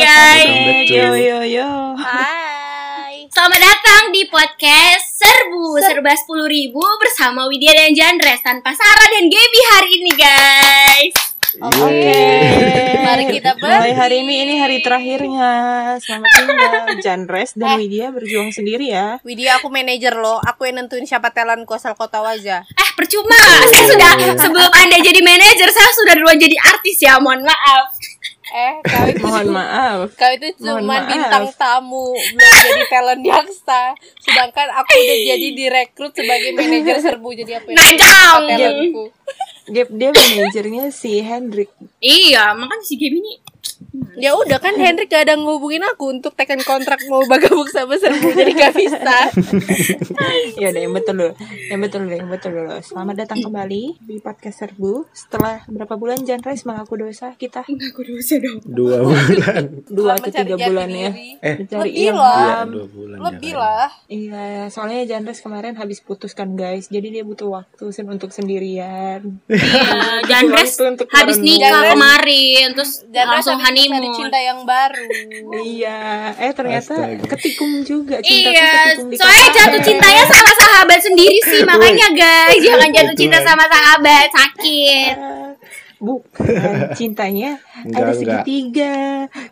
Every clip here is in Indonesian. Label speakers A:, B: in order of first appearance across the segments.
A: guys.
B: Welcome back to-
C: yo yo.
A: Hai. Selamat datang di podcast Serbu Serba 10.000 ribu bersama Widya dan Jandres tanpa Sarah dan Gaby hari ini guys.
C: Iya.
B: Oke.
D: Mari kita
C: Mulai
D: ber.
C: hari ini ini hari terakhirnya. Selamat tinggal Janres
D: Eh.
C: dan Widya berjuang sendiri ya.
D: Widya aku manajer lo, aku yang nentuin siapa talent ku asal kau tahu aja.
A: Eh percuma, saya sudah sebelum Anda jadi manajer saya sudah duluan jadi artis ya, mohon maaf.
D: Eh, kau itu
C: Mohon maaf.
D: kau itu
C: Mohon
D: cuma
C: maaf.
D: bintang tamu, belum jadi talent jaksa. Sedangkan aku udah jadi direkrut sebagai manajer serbu jadi apa?
A: Nah, dong.
C: Iya.
D: talentku.
C: Dia, dia manajernya si Hendrik.
A: Iya, makanya si Gaby ini
D: Ya udah kan Hendrik gak ada ngehubungin aku untuk tekan kontrak mau bagabung sama serbu jadi gak bisa.
C: Ya udah yang betul dulu. Yang betul dulu, yang betul dulu. Selamat datang kembali di podcast Serbu. Setelah berapa bulan Janres mengaku dosa kita
A: aku dosa dong.
B: Dua bulan.
C: dua
D: Selamat
C: ke tiga
D: cari jati
C: bulan ya.
D: diri.
B: Eh.
C: Mencari
D: Lebih
C: ilham.
D: lah.
B: Iya, dua bulan.
D: Lebih
B: jangan.
D: lah.
C: Iya, soalnya Janres kemarin habis putus kan guys, jadi dia butuh waktu sen- untuk sendirian.
A: Iya, Jandres
C: Itu untuk
A: habis
C: merenung.
A: nikah
D: Jandres-
A: kemarin terus
D: Jangan
A: langsung honeymoon.
D: cinta yang baru.
C: Iya, eh ternyata
B: Astaga.
C: ketikung juga cinta
A: Iya,
C: ketikung di
A: soalnya
C: kepala.
A: jatuh cintanya sama sahabat sendiri sih, makanya guys jangan jatuh
B: Itu
A: cinta
B: lah.
A: sama sahabat sakit.
C: Bukan cintanya
B: Enggak,
C: ada
B: enggak.
C: segitiga.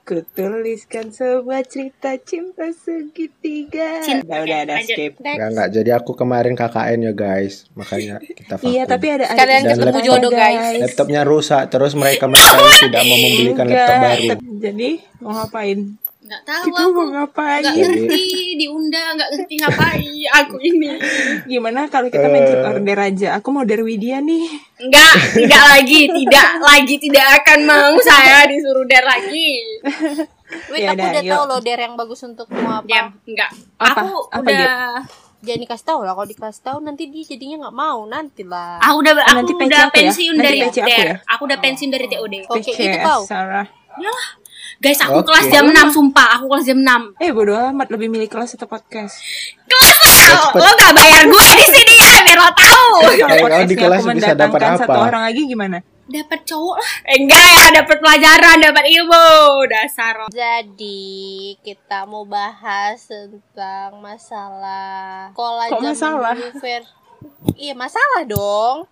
C: Kutuliskan sebuah cerita cinta segitiga.
A: Cinta.
C: Udah, udah, udah,
A: Lanjut.
C: skip.
B: Enggak, enggak. Jadi aku kemarin KKN ya guys. Makanya kita vakum.
C: Iya, tapi ada ada
D: Sekalian
C: ada
B: ketemu
C: ceritanya,
D: jodoh, guys.
B: Laptopnya rusak. Terus mereka mereka yang tidak mau membelikan laptop
C: Enggak.
B: baru.
C: Iya, Jadi mau ngapain?
A: Nggak tahu
C: Kita
A: aku,
C: mau
A: nggak
C: ngapain?
A: ngerti diundang, nggak ngerti ngapain aku ini.
C: Gimana kalau kita main
B: Eh.
C: trip order aja? Aku mau dari Widya nih.
A: Nggak, nggak lagi, tidak lagi, tidak akan mau saya disuruh der lagi.
D: Wait,
C: Ya
D: aku
C: udah,
D: udah
C: yuk.
D: tahu loh der yang bagus untuk mau apa.
A: Diam, nggak.
C: Apa?
A: Aku
C: Apa,
A: udah,
D: Jangan dikasih tahu lah, kalau dikasih tahu nanti dia jadinya nggak mau nanti lah.
C: Ah.
A: aku udah, aku
C: Nanti PC
A: udah
C: aku ya?
A: pensiun
C: Nanti
A: dari
C: PC aku
A: der.
C: ya?
A: Aku udah pensiun dari TOD.
D: Oke, itu
C: Yes,
D: kau.
C: Sarah.
A: Yalah, guys aku
B: Oke.
A: kelas jam 6 sumpah, aku kelas jam 6
C: Eh bodo amat lebih milih kelas atau podcast.
A: Kelas lo, lo gak bayar gue di sini ya, biar lo tahu.
C: Kalau
B: Eh, kalau
C: podcastnya
B: di kelas
C: aku
B: bisa dapat
C: mendatangkan Satu
B: apa?
C: orang lagi gimana?
A: Dapat cowok lah. Eh, enggak ya, dapat pelajaran, dapat ilmu, dasar lo.
D: Jadi kita mau bahas tentang masalah sekolah
C: Kok
D: zaman
C: masalah?
D: dulu ver- Iya masalah dong.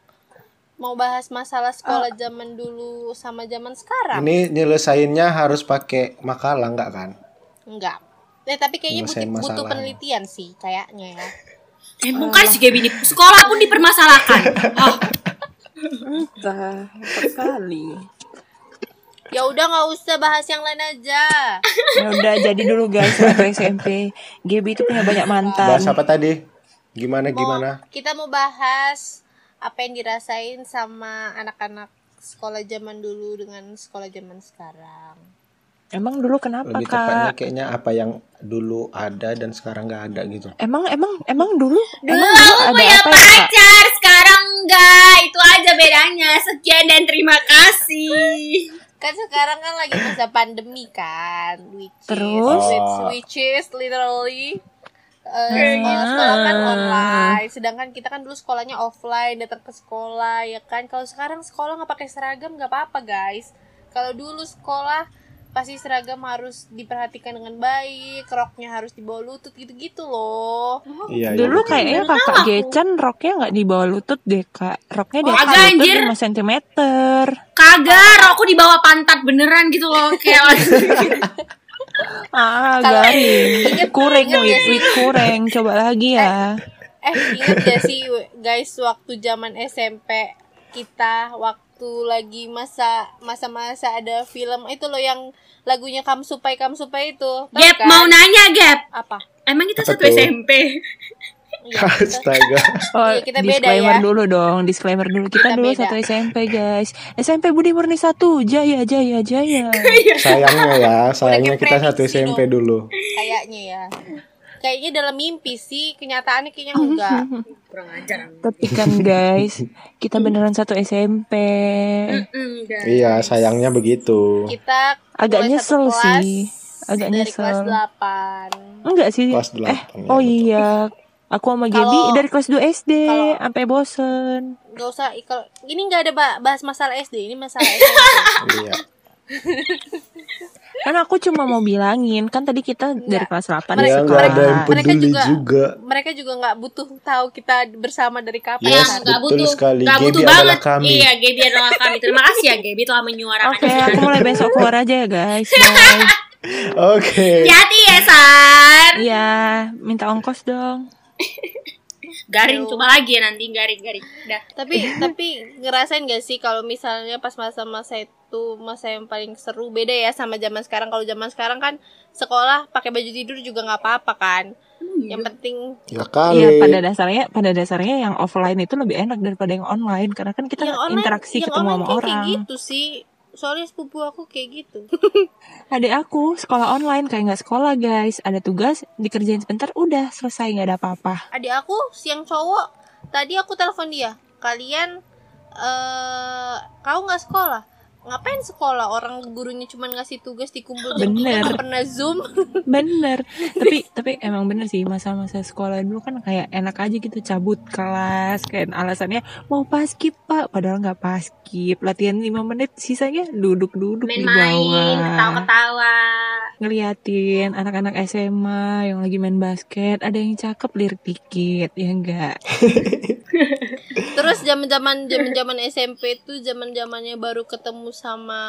D: Mau bahas masalah
C: Ah.
D: sekolah zaman dulu sama zaman sekarang?
B: Ini nyelesainnya harus pakai makalah enggak kan?
D: Enggak. Eh tapi kayaknya
B: Nyelesain
D: butuh, butuh
B: masalah.
D: penelitian sih kayaknya ya.
A: Emang kan si Gaby ini sekolah pun dipermasalahkan. Oh,
C: Entah, sekali.
D: Ya udah nggak usah bahas yang lain aja.
C: Ya udah jadi dulu guys waktu SMP. Gaby itu punya banyak mantan.
B: Bahas apa tadi? Gimana
D: Mau-
B: gimana?
D: kita mau bahas apa yang dirasain sama anak-anak sekolah zaman dulu dengan sekolah zaman sekarang.
C: Emang dulu kenapa
B: Lebih tepatnya
C: kak?
B: kayaknya apa yang dulu ada dan sekarang nggak ada gitu.
C: Emang emang emang dulu
A: dulu
C: emang
A: aku punya
C: ya, Kak?
A: pacar, sekarang enggak. Itu aja bedanya. Sekian dan terima kasih.
D: Kan sekarang kan lagi masa pandemi kan, which is-
C: Terus?
D: which, which is literally uh, sekolah-sekolah kan online, sedangkan kita kan dulu sekolahnya offline, datang ke sekolah ya kan. Kalau sekarang sekolah nggak pakai seragam nggak apa-apa guys. Kalau dulu sekolah pasti seragam harus diperhatikan dengan baik, roknya harus di bawah lutut gitu-gitu loh.
B: Iya,
C: Oh,
B: iya,
C: Dulu
B: betul.
C: kayaknya kakak Gechan roknya nggak di bawah lutut deh kak. Roknya di
A: Oh,
C: atas
A: agak,
C: lutut
A: anjir.
C: 5 cm.
A: Kagak, aku di bawah pantat beneran gitu loh. Kayak
C: Ah
D: Kalau-
C: garing.
D: Ingat-
C: Kureng
D: ingat
C: wit
D: nggak sih?
C: wit kureng. Coba lagi ya.
D: Eh, ingat gak sih guys waktu zaman SMP kita waktu lagi masa masa-masa ada film itu loh yang lagunya Kam Supai Kam Supai itu. Tahu
A: Gap,
D: kan?
A: mau nanya Gap.
D: apa?
A: Emang kita
B: Apa
A: satu
B: tuh?
A: SMP?
D: Iya, kita-
B: Astaga.
C: Oh,
D: Iya, kita beda
C: disclaimer
D: ya.
C: dulu dong, disclaimer dulu. Kita,
D: Kita
C: dulu
D: beda.
C: satu SMP, guys. SMP Budi Murni satu, jaya, jaya, jaya.
B: sayangnya ya, sayangnya
D: kayak
B: kita satu
D: prediksi
B: SMP dulu.
D: kayaknya ya. Kayaknya dalam mimpi sih, kenyataannya kayaknya enggak.
A: Kurang ajar.
C: Tapi kan, guys, kita beneran satu SMP.
A: Mm, guys.
B: Iya, sayangnya begitu.
C: Iya.
D: Kita
C: Agak
D: mulai satu
C: nyesel
D: kelas
C: sih. Agak
D: dari
C: nyesel.
D: kelas 8.
C: Enggak sih.
B: Kelas
C: eh,
B: delapan, ya,
C: oh
B: betul.
C: iya. Aku sama Gaby
D: Kalau-
C: dari kelas 2 SD
D: kalau-
C: sampai bosen.
D: Gak usah kalau ini nggak ada ba- bahas masalah SD, ini masalah SMP.
B: Iya.
C: Kan aku cuma mau bilangin, kan tadi kita dari kelas 8
D: Mereka-
B: Ya
C: sekolah.
B: nggak ada yang
D: mereka
B: peduli
D: juga-
B: juga.
D: mereka juga nggak butuh tahu kita bersama dari kapan
A: Yang
B: Yes,
A: nggak
B: betul sekali.
A: nggak
B: Gaby
A: butuh
B: adalah
A: banget.
B: kami.
A: Iya, Gaby adalah kami. Terima kasih ya Gaby telah menyuarakan.
C: Oke, aku mulai besok keluar aja ya guys. Bye.
B: Oke.
A: Hati-hati ya, Sar.
C: Iya, minta ongkos dong.
A: Garing coba lagi ya nanti garing garing. Dah.
D: tapi tapi ngerasain gak sih kalau misalnya pas masa-masa itu masa yang paling seru beda ya sama zaman sekarang kalau zaman sekarang kan sekolah pakai baju tidur juga nggak apa-apa kan yang penting
B: Ya kali.
C: Iya, pada dasarnya pada dasarnya yang offline itu lebih enak daripada yang online karena kan kita
D: yang online
C: interaksi
D: yang
C: ketemu
D: online
C: sama
D: kayak-
C: orang.
D: kayak gitu sih soalnya sepupu aku kayak gitu
C: Adik aku sekolah online kayak nggak sekolah guys, ada tugas dikerjain sebentar udah selesai nggak ada apa-apa.
D: adik aku siang cowok tadi aku telepon dia kalian eh kau nggak sekolah ngapain sekolah orang gurunya cuma ngasih tugas dikumpul jam tiga,
C: Bener.
D: nggak pernah zoom
C: Bener, tapi tapi emang bener sih masa-masa sekolah dulu kan kayak enak aja gitu cabut kelas kayak alasannya mau paskip pak, padahal nggak paskip latihan 5 menit sisanya duduk-duduk di
A: Main-main,
C: bawah
A: ketawa-ketawa.
C: ngeliatin anak-anak SMA yang lagi main basket ada yang cakep lirik dikit ya enggak
D: Terus zaman-zaman zaman-zaman SMP tuh zaman-zamannya baru ketemu sama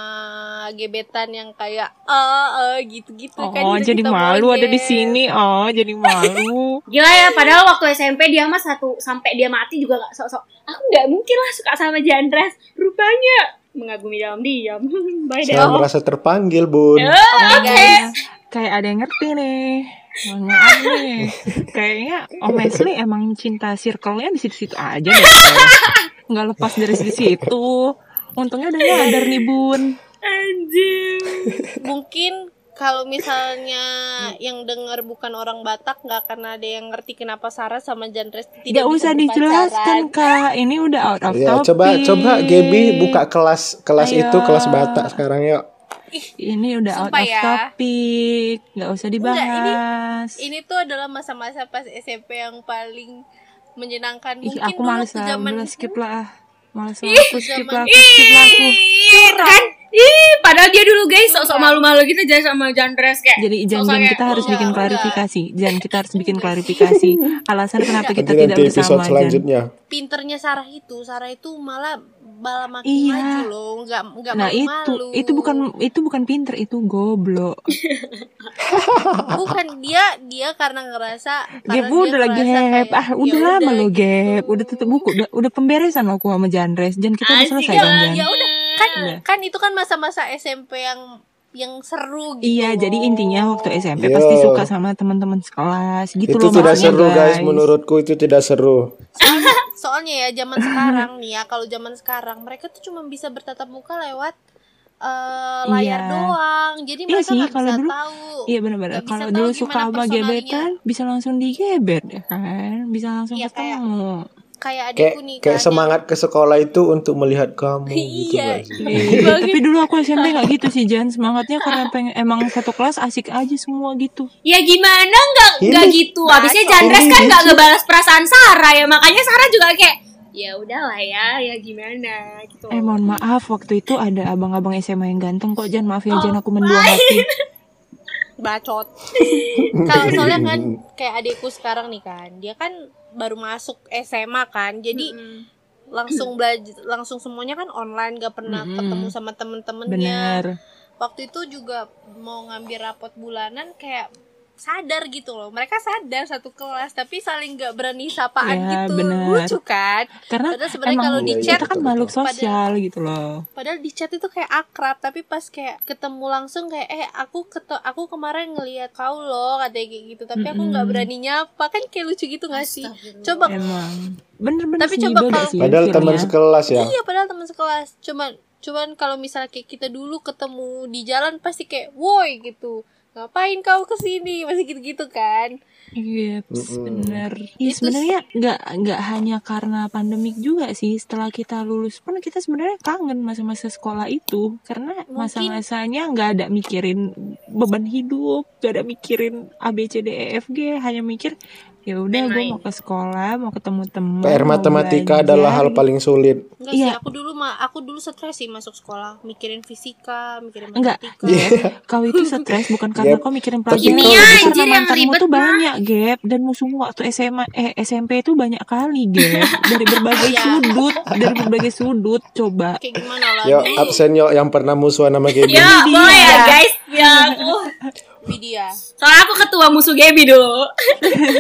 D: gebetan yang kayak ah ah, gitu-gitu
C: oh
D: kan itu
C: jadi
D: kita
C: malu ada di
D: monyet.
C: sini oh jadi malu
A: Gila ya, padahal waktu SMP dia mah satu sampai dia mati juga nggak sok-sok. Aku nggak mungkin lah suka sama Jandres. Rupanya mengagumi dalam diam. Bye deh.
B: Saya merasa terpanggil, Bun.
A: Ya.
D: Oke, guys.
C: Oh, kayak ada yang ngerti nih Mohon maaf nih kayaknya Om Leslie emang cinta circle-nya di situ-situ aja deh nggak lepas dari situ untungnya udah nyadar nih bun
A: Anjing.
D: Mungkin kalau misalnya yang dengar bukan orang Batak nggak akan ada yang ngerti kenapa Sarah sama Jandres tidak
C: tidak
D: bisa
C: usah dijelaskan kak ini udah out of
B: Ya,
C: topic
B: coba coba Gaby buka kelas kelas
C: Ayo.
B: itu kelas Batak sekarang yuk.
C: ini udah out of
D: Sumpah ya.
C: topic nggak usah dibahas
D: Ini tuh adalah masa-masa pas SMP yang paling menyenangkan
C: Ih,
D: mungkin
C: aku
D: dulu
C: males
D: waktu
C: lah
D: zaman
C: udah skip lah ah. males lah aku skip lah aku skip lah aku
A: Ih, kan? Ih, padahal dia dulu guys sok-sok malu-malu gitu jadi sama Jandres kayak. "Oh,
C: Jadi jangan jangan kita harus bikin
D: ya. enggak.
C: klarifikasi. Jangan kita harus bikin klarifikasi. Alasan kenapa kita
B: Nanti
C: tidak
B: nanti episode
C: bersama Jan.
B: selanjutnya.
D: pinternya Sarah itu Sarah itu malah bala makin
C: Iya.
D: maju loh nggak nggak
C: Nah
D: malu
C: itu itu bukan itu bukan pinter itu goblok.
D: bukan dia dia karena ngerasa
C: Gap
D: karena
C: gua udah lagi
D: ngerasa
C: gap.
D: kayak,
C: Ah udah
D: "Ya
C: lama lo
D: gitu."
C: gap. Udah tutup buku. Udah, udah pemberesan lo aku sama Janres. Jangan kita udah
A: iya,
C: selesai dong Jan.
D: ya udah kan
C: Udah.
D: kan itu kan masa-masa SMP yang yang seru gitu
C: Iya, jadi
D: loh.
C: intinya waktu SMP
B: Yo.
C: pasti suka sama teman-teman sekelas gitu
B: Iya. itu
C: loh
B: tidak
C: maksudnya,
B: seru guys. menurutku itu tidak seru.
D: soalnya, soalnya ya zaman sekarang nih ya kalau zaman sekarang mereka tuh cuma bisa bertatap muka lewat eh, layar
C: Iya.
D: doang jadi
C: Iya
D: mereka
C: sih,
D: nggak
C: kalau
D: bisa
C: dulu-
D: tahu
C: Iya benar-benar.
D: Nggak bisa
C: Kalau
D: tahu
C: dulu
D: gimana
C: suka sama
D: personalnya.
C: gebetan bisa langsung digebet ya kan. Bisa langsung
D: Iya, kayak-
C: ketemu.
D: kayak adikku
B: Kayak
D: nih
B: kayak
D: kan,
B: semangat ke sekolah itu untuk melihat kamu gitu
D: Iya.
B: guys.
C: Iya, tapi dulu aku SMP nggak gitu sih Jan semangatnya karena pengen emang satu kelas asik aja semua gitu
A: Ya gimana nggak nggak gitu. Habisnya Jandres kan nggak ngebalas perasaan Sarah ya. Makanya Sarah juga kayak ya udahlah ya, ya gimana gitu.
C: eh mohon maaf waktu itu ada abang-abang SMA yang ganteng kok Jan maaf ya Jan aku mendua
D: Oh, iya.
C: hati
D: bacot kalau soalnya kan kayak adikku sekarang nih kan dia kan baru masuk SMA kan jadi
A: Mm-mm.
D: langsung belajar langsung semuanya kan online gak pernah
C: Mm-mm.
D: ketemu sama temen-temennya
C: bener
D: waktu itu juga mau ngambil rapot bulanan kayak sadar gitu loh mereka sadar satu kelas tapi saling gak berani sapaan
C: Ya,
D: gitu
C: bener.
D: lucu kan
C: karena
D: padahal sebenarnya
C: emang
D: kalau di
B: Iya, iya,
D: chat
C: kita kan
B: betul,
C: makhluk
B: betul.
C: sosial gitu loh
D: padahal di chat itu kayak akrab tapi pas kayak ketemu langsung kayak eh aku keto aku kemarin ngelihat kau loh katanya kayak gitu tapi aku nggak
C: Mm-mm.
D: berani nyapa kan kayak lucu gitu nggak sih
A: Astagfirullah.
D: coba
C: emang bener-bener
D: Tapi
C: sih,
D: coba
C: beda
D: kalau-
C: sih
B: Padahal teman
C: feelnya.
B: sekelas ya.
D: iya padahal teman sekelas cuman cuman kalau misalnya kayak kita dulu ketemu di jalan pasti kayak woi gitu ngapain kau kesini masih gitu-gitu kan
C: Iya,
B: Mm-mm.
C: bener. Ya,
D: Itu
C: sebenarnya nggak nggak hanya karena pandemik juga sih. Setelah kita lulus pun kita sebenarnya kangen masa-masa sekolah itu karena
D: Mungkin-
C: masa-masanya nggak ada mikirin beban hidup, nggak ada mikirin A B C D E F G, hanya mikir ya udah gue
A: Main-main.
C: mau ke sekolah mau ketemu teman
B: PR matematika adalah hal paling sulit.
D: Enggak sih,
C: Iya.
D: aku dulu mah aku dulu stres sih masuk sekolah, mikirin fisika, mikirin
C: Enggak.
D: matematika.
B: Iya.
C: kau itu stres bukan karena
B: Gap.
C: kau mikirin
B: Tapi
C: pelajaran tapi
B: Kimia,
A: anjir, yang
C: karena mantanmu
A: ribet
C: tuh
A: mah.
C: banyak gap dan musuhmu waktu SMA eh SMP itu banyak kali gap dari berbagai
D: Iya.
C: sudut dari berbagai sudut coba
D: Kayak gimana lah
B: Yo
D: dulu
B: absen yo yang pernah musuhan sama Gaby.
A: Ya, boleh ya guys. Ya aku.
D: Widya.
A: Soalnya aku ketua musuh Gaby dulu.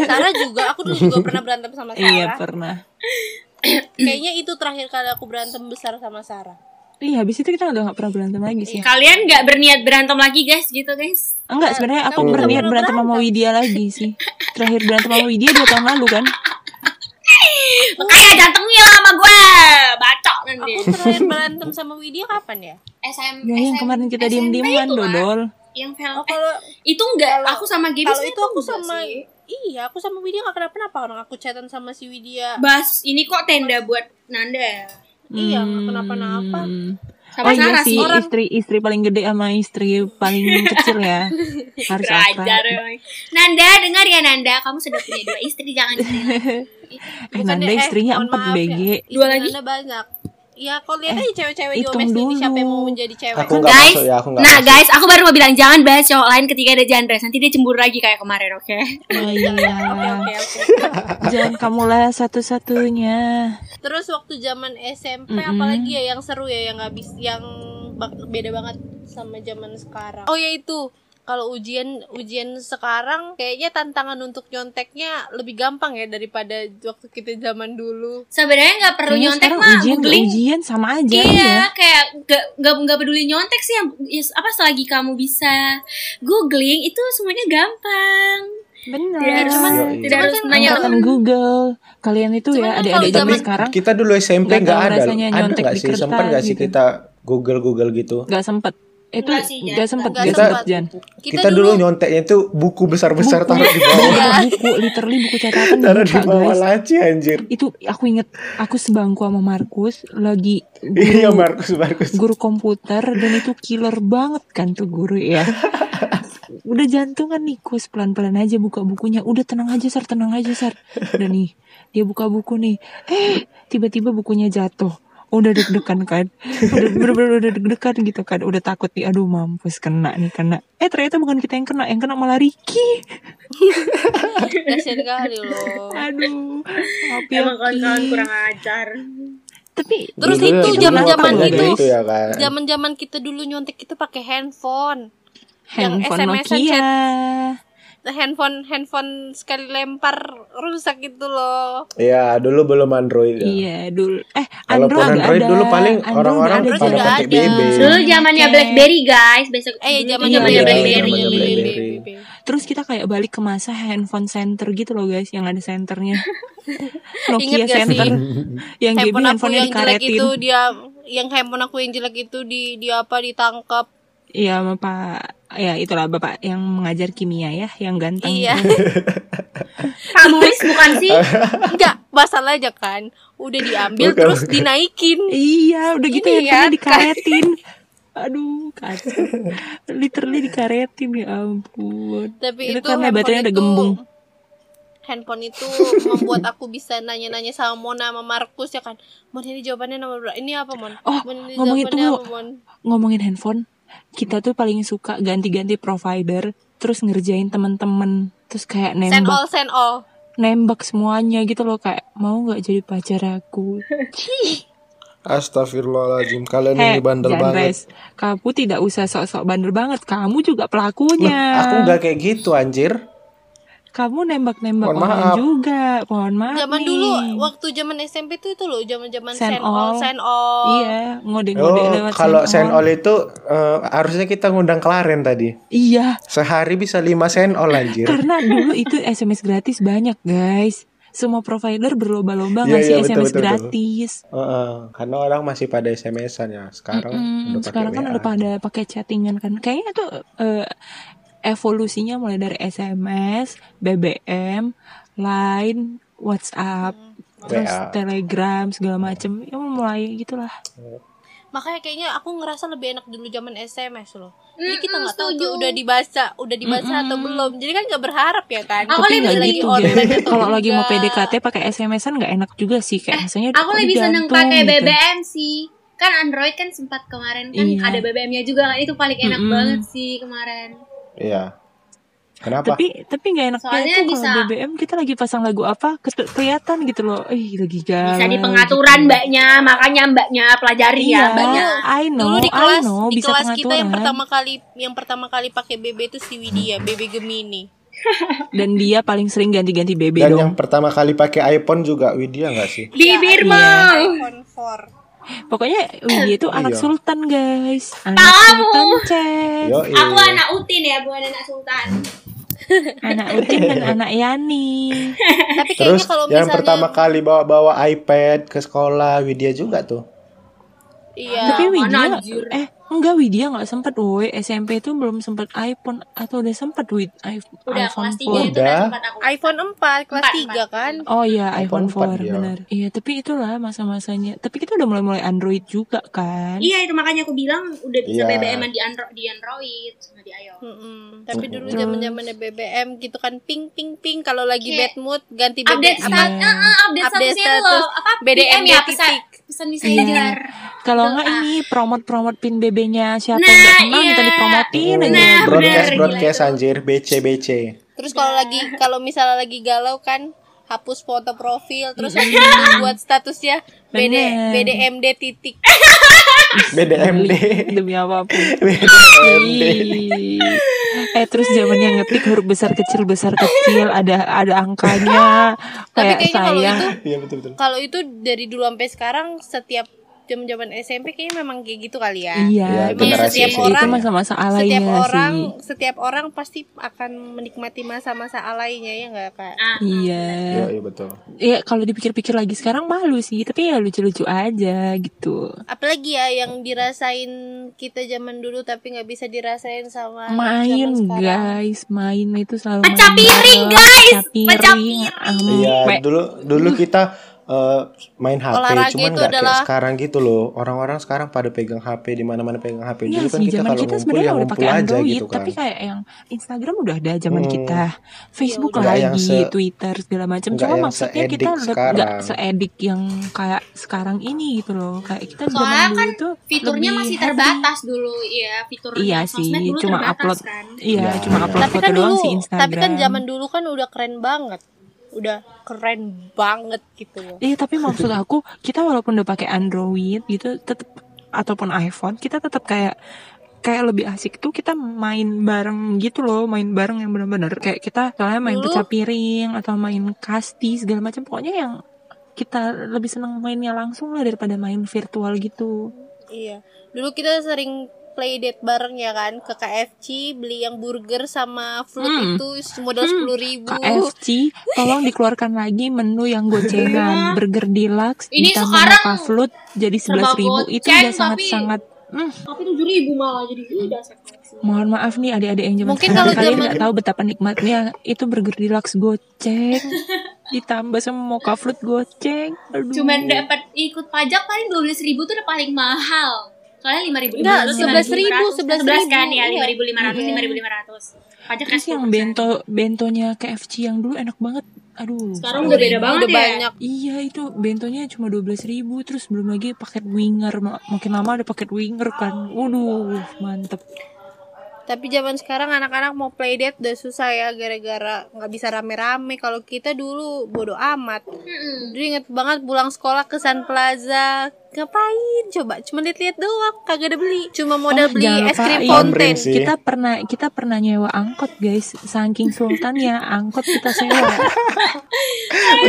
D: Sarah juga, aku dulu juga pernah berantem sama
C: iya
D: Sarah.
C: pernah
D: Kayaknya itu terakhir kali aku berantem besar sama Sarah.
C: iya habis itu kita udah gak pernah berantem lagi sih
A: Kalian nggak berniat berantem lagi guys gitu guys.
C: enggak sebenarnya aku
D: Kamu nggak
C: berniat
D: pernah
C: berantem sama Widya lagi sih terakhir berantem sama Widya dua tahun lalu kan Oh.
A: Makanya jantungnya lama gue. Bacok nanti.
D: Aku terakhir berantem sama Widya kapan ya?
A: SM,
C: ya yang kemarin kita
A: SMP
C: diem dieman
A: itu, Mak.
C: dodol
A: Yang film
D: Oh,
A: eh,
D: kalau
A: itu enggak aku sama Gaby
D: kalau
A: sih
D: itu aku
A: enggak
D: sama
A: sih.
D: Iya, aku sama Widya gak kenapa-napa orang aku chatan sama si Widya.
A: Bas, ini kok tenda buat Nanda.
D: Iya, gak kenapa-napa.
C: Hmm.
A: Sama
C: oh iya
A: Sarah
C: sih
A: sih. Orang
C: istri istri paling gede sama istri paling kecil ya harus
A: belajar
C: akrab.
A: emang. Nanda, dengar ya Nanda, kamu sudah punya dua istri jangan istri
C: Eh, Nanda
D: eh,
C: istrinya
D: mohon
C: empat Oh,
D: maaf ya.
C: BG.
D: Istri
A: Dua lagi?
D: Nanda banyak. Ya, kalau lihat aja cewek-cewek di
C: hitung
D: Omes ini siapa yang mau
C: dulu.
D: menjadi cewek.
B: Aku nggak
A: guys,
B: masuk ya, aku nggak
A: nah
B: masuk.
A: guys, aku baru mau bilang jangan bahas cowok lain ketika ada Jandres, nanti dia cemburu lagi kayak kemarin, oke?
C: Oh iya.
D: Oke, oke, oke.
C: Jangan kamulah satu-satunya.
D: Terus waktu zaman SMP
C: Mm-mm.
D: apalagi ya yang seru ya yang habis yang bak- beda banget sama zaman sekarang. Oh ya itu kalau ujian ujian sekarang kayaknya tantangan untuk nyonteknya lebih gampang ya daripada waktu kita zaman dulu.
A: Sebenarnya nggak perlu
C: Kayaknya
A: nyontek
C: sekarang
A: mah,
C: ujian ke
A: googling.
C: ujian sama aja
A: iya,
C: ya.
A: kayak nggak nggak nggak peduli nyontek sih, yang ya, apa selagi kamu bisa googling itu semuanya gampang.
C: Benar.
A: Tidak harus
B: Iya,
A: tidak
B: iya.
A: harus
D: Cuman kan
A: nanya
C: Angkatan Google. Kalian itu
D: Cuman
C: ya
D: kan
C: adik-adik
D: kalau
C: zaman
D: zaman-
C: sekarang
B: Eh, Kita dulu SMP
C: Nggak tahu
B: nggak ada, loh.
C: rasanya
B: ada
C: nyontek
B: nggak
C: di
B: sih?
C: kertas
B: Sempat nggak sih
C: gitu.
B: kita Google Google gitu?
C: nggak sempet. Itu
A: Nggak sih, Jan.
C: nggak sempet,
D: Nggak
C: nggak
B: sempet.
C: sempet Jan.
B: Kita, dulu, nyonteknya itu buku besar besar
C: Buku.
B: taruh di bawah,
C: Iya, buku, literally buku catatan
B: taruh di
C: dibuka,
B: bawah
C: guys.
B: laci anjir.
C: Itu aku inget, aku sebangku sama Markus lagi
B: Iya Markus Markus.
C: guru komputer dan itu killer banget kan tuh guru ya udah jantungan nikus pelan-pelan aja buka bukunya udah tenang aja sar tenang aja sar udah nih dia buka buku nih eh tiba-tiba bukunya jatuh udah deg-degan kan udah bener-bener udah deg-degan gitu kan udah takut nih aduh mampus kena nih kena eh ternyata bukan kita yang kena yang kena malah Riki
D: Kasihan kali loh.
C: aduh maaf ya,
A: Emang kawan-kawan
C: Ki.
A: kurang ajar.
C: tapi
D: Terus
B: Dulu
D: itu
B: ya, dulu
D: zaman-zaman
B: waktu
D: itu.
B: gitu ya kan.
D: Zaman-zaman kita dulu nyontek kita pakai handphone.
C: handphone
D: SMS-an
C: Nokia
D: chat. Handphone handphone sekali lempar rusak gitu loh.
B: Iya dulu belum Android. ya.
C: Iya dulu eh
B: Kalaupun
C: Android,
B: Android
C: ada.
B: dulu paling
C: Android
B: orang-orang
C: udah
D: pada
C: Jan.
D: pakai BB.
A: Dulu zamannya
C: Oke.
A: BlackBerry guys, besok
D: Eh,
A: dulu tuh
D: zamannya
B: iya,
D: Blackberry.
B: zamannya Blackberry.
C: Terus kita kayak balik ke masa handphone center gitu loh guys yang ada senternya.
D: Ingat
C: Nokia
D: gak sih?
C: center yang GB
D: handphone aku
C: handphonenya
D: yang jelek
C: dikaretin.
D: itu dia yang handphone aku yang jelek itu di di apa ditangkap
C: Iya sama Pak ya itulah Bapak yang mengajar kimia ya yang ganteng.
D: iya
A: Kamu Riz, bukan sih?
D: enggak masalah aja kan udah diambil
B: Bukan,
D: terus
B: bukan.
D: dinaikin
C: Iya, udah gitu
D: Ini
C: handphonenya
D: ya,
C: dikaretin. Aduh, kacau. Literally dikaretin ya ampun.
D: tapi
C: itu,
D: itu,
C: karena
D: handphone
C: baterainya udah
D: itu-
C: gembung.
D: handphone itu membuat aku bisa nanya-nanya sama Mona sama Markus ya kan Mon ini jawabannya nomor berapa ini apa Mon
C: Oh,
D: Mon ini
C: ngomong itu,
D: jawabannya
C: Bu.
D: apa Mon
C: Ngomongin handphone, kita tuh paling suka ganti-ganti provider terus ngerjain temen-temen terus kayak
D: send
C: nembak
D: all send all
C: nembak semuanya gitu loh kayak mau nggak jadi pacar aku
B: Astagfirullahaladzim kalian
C: Heh,
B: ini bandel
C: Jan
B: banget.
C: Res, kamu tidak usah sok-sok bandel banget kamu juga pelakunya
B: Aku nggak kayak gitu anjir.
C: kamu nembak-nembak
B: Mohon
C: orang
B: maaf.
C: juga mohon maaf
D: zaman
C: nih.
D: dulu waktu zaman SMP tuh itu loh zaman-zaman
C: Send
D: send, all
C: all.
D: send all
C: iya ngode-ngode
B: Oh,
C: lewat
B: kalau
C: send
B: send
C: on.
B: all itu eh, harusnya kita ngundang Klaren tadi.
C: iya
B: Sehari bisa oh, 5 send all anjir.
C: karena dulu itu SMS gratis banyak guys semua provider berlomba-lomba
B: Iya,
C: ngasih
B: iya, betul,
C: SMS
B: betul, betul.
C: gratis
B: Heeh, karena orang masih pada SMS-an ya. Sekarang
C: Mm-mm,
B: udah pakai
C: sekarang kan
B: WA.
C: udah pada pakai chattingan kan kayaknya tuh eh, evolusinya mulai dari SMS, BBM, Line, WhatsApp, terus
B: WA.
C: Telegram segala macem ya mulai gitulah
D: makanya kayaknya aku ngerasa lebih enak dulu zaman SMS loh jadi kita
A: Mm-mm,
D: nggak tahu
A: setuju.
D: tuh udah dibaca udah dibaca atau
C: Mm-mm.
D: belum jadi kan nggak berharap ya kan
A: Aku
C: Tapi
A: lebih
C: nggak
A: lagi
C: gitu,
D: online
C: Gem.
D: atau
C: Kalau lagi mau
D: enggak.
C: PDKT pakai SMS-an nggak enak juga sih kayak misalnya
A: Aku
C: kok
A: lebih seneng
C: digantung
A: pakai
C: gitu.
A: BBM sih. Kan Android kan sempat kemarin kan
C: Iya.
A: ada BBM-nya juga kan itu paling enak
C: Mm-mm.
A: banget sih kemarin.
B: Iya. Kenapa?
C: Tapi tapi nggak enak
A: Soalnya
C: tuh
A: bisa-
C: kalau BBM kita lagi pasang lagu apa kete- kelihatan gitu loh. Ih, lagi galau.
A: Bisa di pengaturan
C: gitu.
A: mbaknya, makanya mbaknya pelajari
C: Iya,
A: ya mbaknya.
C: I know,
D: dulu di kelas
C: I know,
D: di
C: bisa
D: kelas kita yang
C: pengaturan.
D: pertama kali yang pertama kali pakai BB itu si Widya BB Gemini
C: Dan dia paling sering ganti-ganti BB
B: Dan
C: dong.
B: yang pertama kali pakai iPhone juga Widya nggak sih?
A: Bibirmu.
D: iPhone 4
C: Pokoknya Widya itu anak
B: Iya.
C: sultan, guys. Anak
A: Tahu.
C: sultan cek.
B: Yo,
A: Aku anak Utin ya, bukan anak Sultan.
C: Anak Utin dan anak Yani.
D: tapi kayaknya
B: Terus
D: kalau
B: yang
D: misalnya
B: pertama kali bawa-bawa iPad ke sekolah Widya juga tuh.
D: iya
C: Tapi
A: mana,
C: Widya
A: anjir?
C: eh enggak Widya nggak sempat woi SMP itu belum sempat iPhone atau udah sempat duit iPhone
A: Udah kelas 3 itu udah
B: Udah.
A: sempat aku.
D: iPhone 4 kelas
A: Empat,
D: 3 kan
C: Oh iya iPhone
B: iPhone
C: 4
B: 4 dia.
C: benar. Iya tapi itulah masa-masanya. Tapi kita udah mulai-mulai Android juga kan.
A: Iya itu makanya aku bilang udah bisa
B: Iya.
A: BBM di Android, di Android sama di iOS.
D: Hmm. Mm-mm. Tapi dulu
C: Terus.
D: zaman zamannya BBM gitu kan ping ping ping kalau lagi
A: Kayak
D: bad mood ganti BBM.
A: Update
C: Iya.
A: status, eh, eh, update,
D: Update
A: statusnya itu
D: status.
A: loh. Apa
D: BDM
A: BDM ya
D: titik.
A: pesan pesan messenger.
C: Kalau nggak ini promot-promot pin BB-nya siapa
A: Nah,
C: yang nggak kenal
A: iya.
C: kita dipromotin aja.
A: Nah,
B: broadcast
A: bener,
B: broadcast
A: gila itu.
B: anjir BC BC.
D: Terus
A: Iya.
D: kalau lagi kalau misalnya lagi galau kan hapus foto profil terus habis itu buat statusnya BD
C: Bener.
D: BDMD titik.
B: BDMD.
C: demi apapun.
B: BDMD.
C: Ih. eh terus zamannya ngetik huruf besar kecil besar kecil ada ada angkanya
D: Tapi
C: kayak
D: kayaknya
C: sayang.
D: kalau itu kan
B: Iya betul betul.
D: kalau itu dari dulu sampai sekarang setiap zaman zaman SMP kayaknya memang kayak gitu kali ya.
C: Iya,
B: Iya,
C: emang
B: generasi
C: setiap
D: sih.
C: orang
D: Itu
C: masa-masa alaynya
D: Setiap orang
C: sih.
D: setiap orang pasti akan menikmati masa-masa alaynya ya enggak Kak?
A: Ah,
C: Iya.
B: Iya iya betul.
C: Ya kalau dipikir-pikir lagi sekarang malu sih, tapi ya lucu-lucu aja gitu.
D: apalagi ya yang dirasain kita zaman dulu tapi nggak bisa dirasain sama zaman
C: Main
D: sekarang.
C: guys, main itu selalu
A: Pecah
C: main
A: piring,
C: bareng.
A: guys. Pecah
C: Pecah piring.
B: Iya
C: ampe.
B: dulu dulu
C: Hmm.
B: kita eh, main HP
D: Olahraga
B: cuman
D: itu
B: nggak
D: adalah-
B: kayak sekarang gitu loh. Orang-orang sekarang pada pegang HP di mana-mana pegang HP.
C: Iya
B: Dulu kan
C: sih,
B: kita
C: zaman
B: kalau
C: kita
B: ngumpul
C: sebenarnya
B: ya
C: udah
B: ngumpul
C: pakai
B: aja
C: Android,
B: gitu kan.
C: tapi kayak yang Instagram udah ada zaman
B: Hmm.
C: kita, Facebook
D: Iya,
B: udah. Nggak yang
C: lagi,
B: se-
C: Twitter segala macam.
B: nggak
C: Cuma
B: yang
C: maksudnya kita
B: se-edik
C: leb- nggak
B: sekarang.
C: seedik yang kayak sekarang ini gitu loh. Kayak kita zaman
A: Soalnya
C: dulu
A: kan
C: tuh
A: fiturnya
C: lebih
A: masih
C: happy.
A: terbatas dulu ya fitur
C: Iya sih,
A: sosmed dulu
C: cuma
A: terbatas
C: upload.
A: kan.
C: Iya,
B: Iya,
C: cuma
B: iya.
C: upload
D: tapi
C: foto
D: kan
C: doang
D: dulu
C: sih Instagram.
D: tapi kan zaman dulu kan udah keren banget udah keren banget gitu loh
C: Iya, tapi maksud aku kita walaupun udah pakai Android gitu, tetap ataupun iPhone, kita tetap kayak kayak lebih asik tuh kita main bareng gitu loh, main bareng yang bener-bener kayak kita soalnya main
D: Dulu-
C: pecah piring atau main kasti segala macam, pokoknya yang kita lebih seneng mainnya langsung lah daripada main virtual gitu.
D: iya dulu kita sering play date bareng ya kan ke KFC beli yang burger sama flute
C: Hmm.
D: itu modal
C: Hmm.
D: sepuluh ribu
C: KFC, tolong dikeluarkan lagi menu yang gocengan, burger deluxe,
A: Ini
C: ditambah
A: sekarang
C: Napa Float jadi
A: serba
C: 11.000 itu
A: goceng,
C: udah
A: tapi-
C: sangat-sangat
A: Tapi tujuh ribu malah jadi ih dasar.
C: Mohon maaf nih adik-adik yang zaman
D: Mungkin
C: sekarang
D: kalau
C: kalian
D: zaman-
C: nggak tahu betapa nikmatnya itu burger deluxe goceng ditambah sama mocha fruit goceng. Aduh.
A: Cuman dapat ikut pajak paling dua belas ribu tuh udah paling mahal. Soalnya lima ribu
D: Enggak, 11.000,
A: kan ya
D: iya.
A: lima ribu lima ratus
C: Iya.
A: lima ribu lima ratus. Pajak kan
C: terus yang
A: 10%.
C: bento bentonya KFC yang dulu enak banget. Aduh.
A: Sekarang udah beda banget
D: udah
A: ya.
D: banyak
C: Iya itu bentonya cuma 12.000 terus belum lagi paket winger Ma- makin lama ada paket winger kan. Waduh, mantep.
D: Tapi zaman sekarang anak-anak mau play date udah susah ya gara-gara nggak bisa rame-rame. Kalau kita dulu bodoh amat.
A: Mm-mm.
D: Dulu inget banget pulang sekolah ke Sun Plaza. Ngapain? Coba cuma lihat-lihat doang, kagak ada beli. Cuma modal
C: Oh,
D: beli
C: jangan
D: es krim
C: lupain.
D: fountain.
B: Tamrin sih.
C: Kita pernah kita pernah nyewa angkot guys, saking sultannya angkot kita sewa.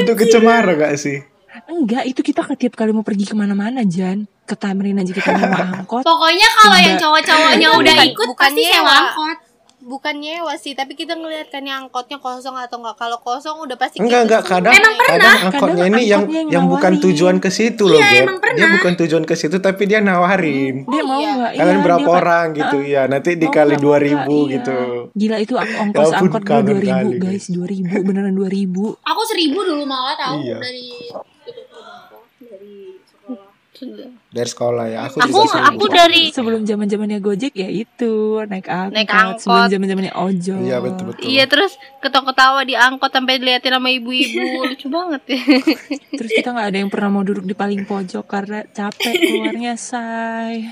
B: Untuk kecemara gak sih?
C: Iya, Enggak, itu kita ke- tiap kali mau pergi kemana-mana, Jan. Ke Tamrin aja kita nyewa
E: Oh,
C: angkot.
A: Pokoknya kalau yang
C: Mbak.
A: cowok-cowoknya
D: Bukan-
A: udah ikut
D: bukan
A: pasti
D: nyewa.
A: sewa angkot.
D: Bukan nyewa sih, tapi kita ngeliat kan yang angkotnya kosong atau enggak. Kalau kosong udah pasti
B: Enggak
D: kita
B: enggak
D: semua
B: kadang
D: naik.
A: kan
B: kadang angkotnya
C: Kadang
B: ini yang
C: angkotnya
B: yang,
C: yang
B: bukan
C: nawarin. Iya,
B: tujuan ke situ loh, Beb.
A: emang
B: Dia
A: pernah.
B: bukan tujuan ke situ tapi dia nawarin.
E: oh
C: Dia mau
D: iya.
C: enggak?
B: Kalian
C: Hmm. Iya,
B: berapa
C: dia-
B: orang gitu ya. Nanti
C: Mau
B: dikali
C: nggak, mau
B: dua
C: nggak?
B: ribu
C: Iya.
B: gitu.
C: Gila itu ang- ongkos
B: ampun,
C: angkot dulu
B: kangen
C: 2000,
B: kali,
C: guys. 2000, beneran 2000.
A: Aku seribu dulu malah tahu
B: Iya.
A: dari itu rumahku dari sekolah.
B: dari sekolah ya aku,
A: Aku-
B: juga
A: aku
B: sibuk.
A: dari-
C: sebelum zaman zamannya Gojek ya itu naik angkot.
E: Naik angkot.
C: Sebelum zaman zamannya ojol.
B: iya betul betul
E: Iya terus ketawa-ketawa di angkot sampai diliatin sama ibu-ibu lucu banget ya.
C: Terus kita nggak ada yang pernah mau duduk di paling pojok karena capek keluarnya say.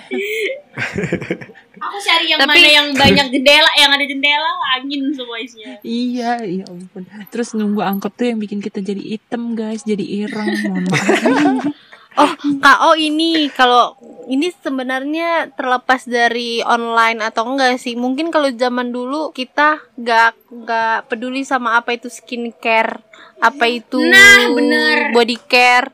A: Aku cari yang
E: Tapi-
A: mana yang banyak jendela, yang ada jendela, angin semua isinya.
C: Iya, ya ampun. Terus nunggu angkot tuh yang bikin kita jadi item guys, jadi ireng. Mohon maaf.
E: Oh, KO ini kalau ini sebenarnya terlepas dari online atau enggak sih. Mungkin kalau zaman dulu kita nggak nggak peduli sama apa itu skincare, apa itu
A: Nah, bener.
E: body care.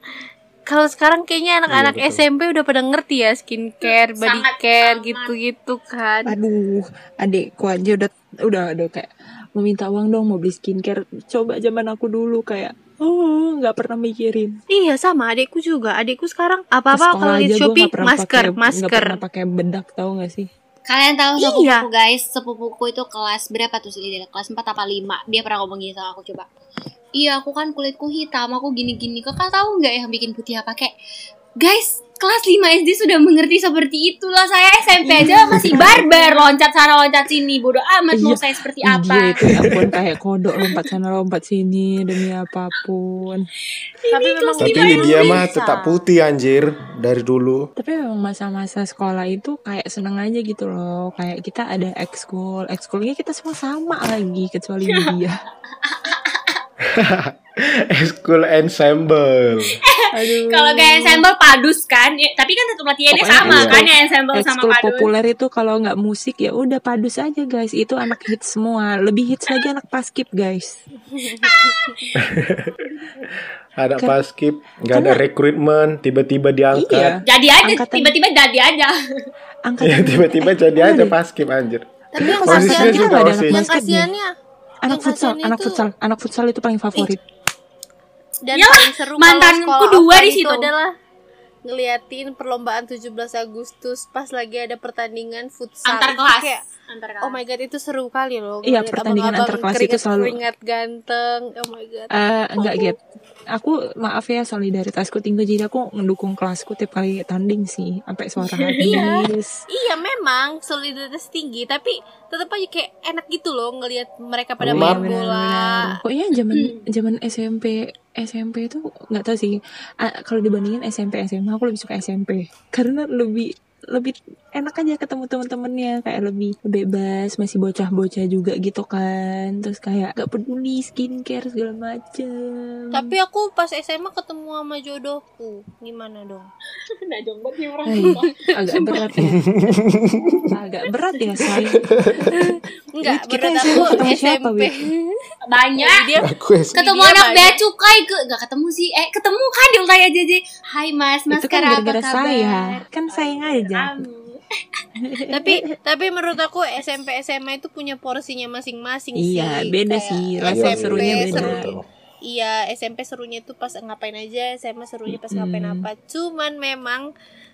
E: Kalau sekarang kayaknya anak-anak
B: Iya, betul.
E: SMP udah pada ngerti ya skincare, body
A: Sangat
E: care
A: amat.
E: gitu-gitu kan.
C: Aduh, adekku aja udah udah udah kayak mau minta uang dong mau beli skincare. Coba zaman aku dulu kayak oh nggak pernah mikirin.
E: Iya sama adekku juga. Adekku sekarang
C: Ke
E: apa-apa
C: sekolah
E: kalau
C: aja
E: lihat
C: gua
E: Shopee
C: nggak pernah
E: masker,
C: pakai- nggak
E: masker.
C: pernah pakai bedak tau gak sih?
A: Kalian tahu sepupuku
E: Iya.
A: guys, sepupuku itu kelas berapa tuh sih? Dia Kelas 4 apa 5. Dia pernah ngomong gini sama aku coba. Iya, aku kan kulitku hitam, aku gini-gini. Kakak tahu nggak yang bikin putih apa kayak Guys, kelas 5 SD sudah mengerti seperti itulah. Saya SMP aja masih barbar, loncat sana loncat sini. Bodoh amat mau
C: Iya.
A: saya seperti
C: Iya,
A: apa.
C: itu ya ampun kayak kodok lompat sana lompat sini demi apapun.
D: Tapi memang
A: gitu
B: tapi
D: gimana
B: dia
D: bisa?
B: mah tetap putih anjir dari dulu
C: Tapi memang masa-masa sekolah itu kayak seneng aja gitu loh. Kayak kita ada ekskul, ekskulnya kita semua sama lagi kecuali dia.
B: school ensemble
C: Aduh.
A: Kalau kayak ensemble padus kan, ya, tapi kan tetap latihannya
C: Pokoknya
A: sama
B: ekskul-
A: kan ya ensemble sama
C: ekskul
A: padus.
C: populer itu kalau nggak musik ya udah padus aja guys. Itu anak hits semua. Lebih hits lagi anak paskip guys.
B: ada
D: Kan-
C: Ken-
B: paskip nggak ada rekrutmen tiba-tiba
C: Iya.
B: diangkat
A: Jadi aja,
C: Angkatan-
A: tiba-tiba jadi aja.
B: ya
D: Iya.
C: Angkatan eh,
B: tiba-tiba
D: Kan
B: jadi aja paskip anjir
E: Tapi yang
B: Posisinya
E: kasihan
B: juga
E: kita
C: ada gitu anak
B: osis.
E: yang
C: basket nih.
E: kasihannya yang
C: Anak futsal,
E: kasihan
C: anak
E: itu-
C: futsal, anak futsal itu paling favorit.
E: dan
A: Yalah,
E: paling seru kalau
A: mantanku
E: sekolah
A: dua
E: offline
A: di
E: itu
A: situ.
E: adalah
D: ngeliatin perlombaan 17 Agustus pas lagi ada pertandingan futsal
A: Antar
D: Itu
A: kelas.
D: kayak,
A: Antar kelas.
D: oh my god itu seru kali loh
C: Iya,
D: ngeliat
C: pertandingan
D: abang-abang
C: antar kelas itu selalu-
D: keringat-keringat ganteng oh my god
C: Eh enggak gitu. Aku maaf ya solidaritasku tinggi jadi aku mendukung kelasku tiap kali tanding sih sampai suara habis.
D: iya memang solidaritas tinggi tapi tetap aja kayak enak gitu loh ngelihat mereka
C: Iya,
D: pada
B: Emang.
D: main bola
C: Pokoknya zaman zaman SMP SMP itu nggak tahu sih. Ah, kalau dibandingin SMP SMA aku lebih suka SMP karena lebih lebih enak aja ketemu temen-temennya kayak lebih bebas masih bocah-bocah juga gitu kan terus kayak gak peduli skincare segala macem
D: tapi aku pas SMA ketemu sama jodohku gimana dong
A: Nah, jomblo nih orang.
C: Hai, agak berat ya agak berat ya saya
D: enggak
C: Kita
D: berat
C: SMA
D: aku
C: ketemu siapa,
D: SMP
C: Wi?
A: Oh, Banyak.
D: Iya, dia
B: aku S-
A: ketemu
D: Dia
A: anak
D: banyak.
A: bea cukai ke nggak ketemu sih eh ketemu kan dia tanya aja aja hai mas mas
C: itu kan
A: Kara,
C: gara-gara
A: apa kabar
C: saya kan saya ngajak
A: Kamu.
D: tapi tapi menurut aku SMP SMA itu punya porsinya masing-masing
C: Iya,
D: sih.
C: beda
D: Kayak
C: sih. Rasa
B: Iya,
D: SMP
C: serunya
B: iya,
C: beda.
B: betul,
D: seru-
B: betul.
D: Iya SMP serunya itu pas ngapain aja SMA serunya pas
C: Mm-mm.
D: ngapain apa cuman memang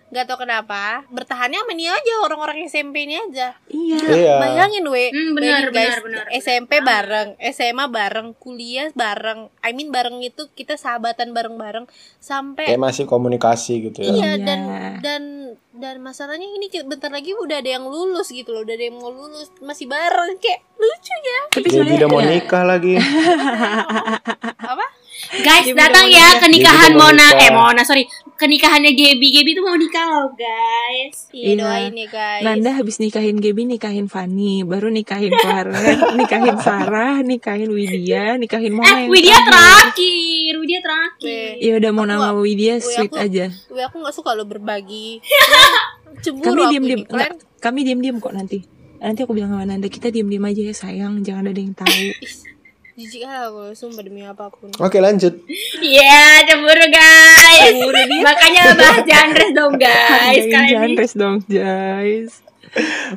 D: nggak tau kenapa bertahannya sama ini aja orang-orang SMP ini aja
C: iya
B: Iya.
D: bayangin we
A: Hmm, benar,
D: bayangin, guys,
A: benar, benar,
D: SMP bareng SMA bareng kuliah bareng I mean bareng itu kita sahabatan bareng-bareng sampai
B: kayak masih komunikasi gitu ya
D: Iya
C: Iya.
D: dan dan dan masalahnya ini ki- bentar lagi udah ada yang lulus gitu loh, udah ada yang mau lulus masih bareng kayak lucu ya.
C: tapi
B: dia
C: sebenarnya
B: tidak mau
C: ya,
B: nikah lagi
A: guys
C: Dia
A: datang
C: udah
A: ya
C: mau
A: ke nikahan
B: Dia udah mau
A: Mona
B: nikah.
A: eh Mona sorry ke nikahannya Gaby Gaby tuh mau nikah loh guys
D: Iya
C: Iya.
D: doain ya guys.
C: Nanda habis nikahin Gaby nikahin Fani baru nikahin Clara nikahin Sarah nikahin Widya nikahin Mona
A: eh
C: yang
A: Widya
C: terakhir.
A: terakhir Widya terakhir
D: Weh,
C: ya udah mau
D: Aku-
C: nama Widya
D: aku-
C: sweet aja
D: weh, aku nggak suka lo berbagi.
C: kami
D: Cemburu
C: diam
D: aku
C: diam
D: gitu kan. ini, kalian.
C: kami diam diam kok nanti nanti aku bilang sama Nanda kita diam diam aja ya sayang jangan ada yang tahu
D: Jijik ah aku sumpah demi apapun.
B: oke lanjut
A: Iya cemburu guys makanya bahas genre dong guys
C: Hargain
A: kali ini
C: Janres dong guys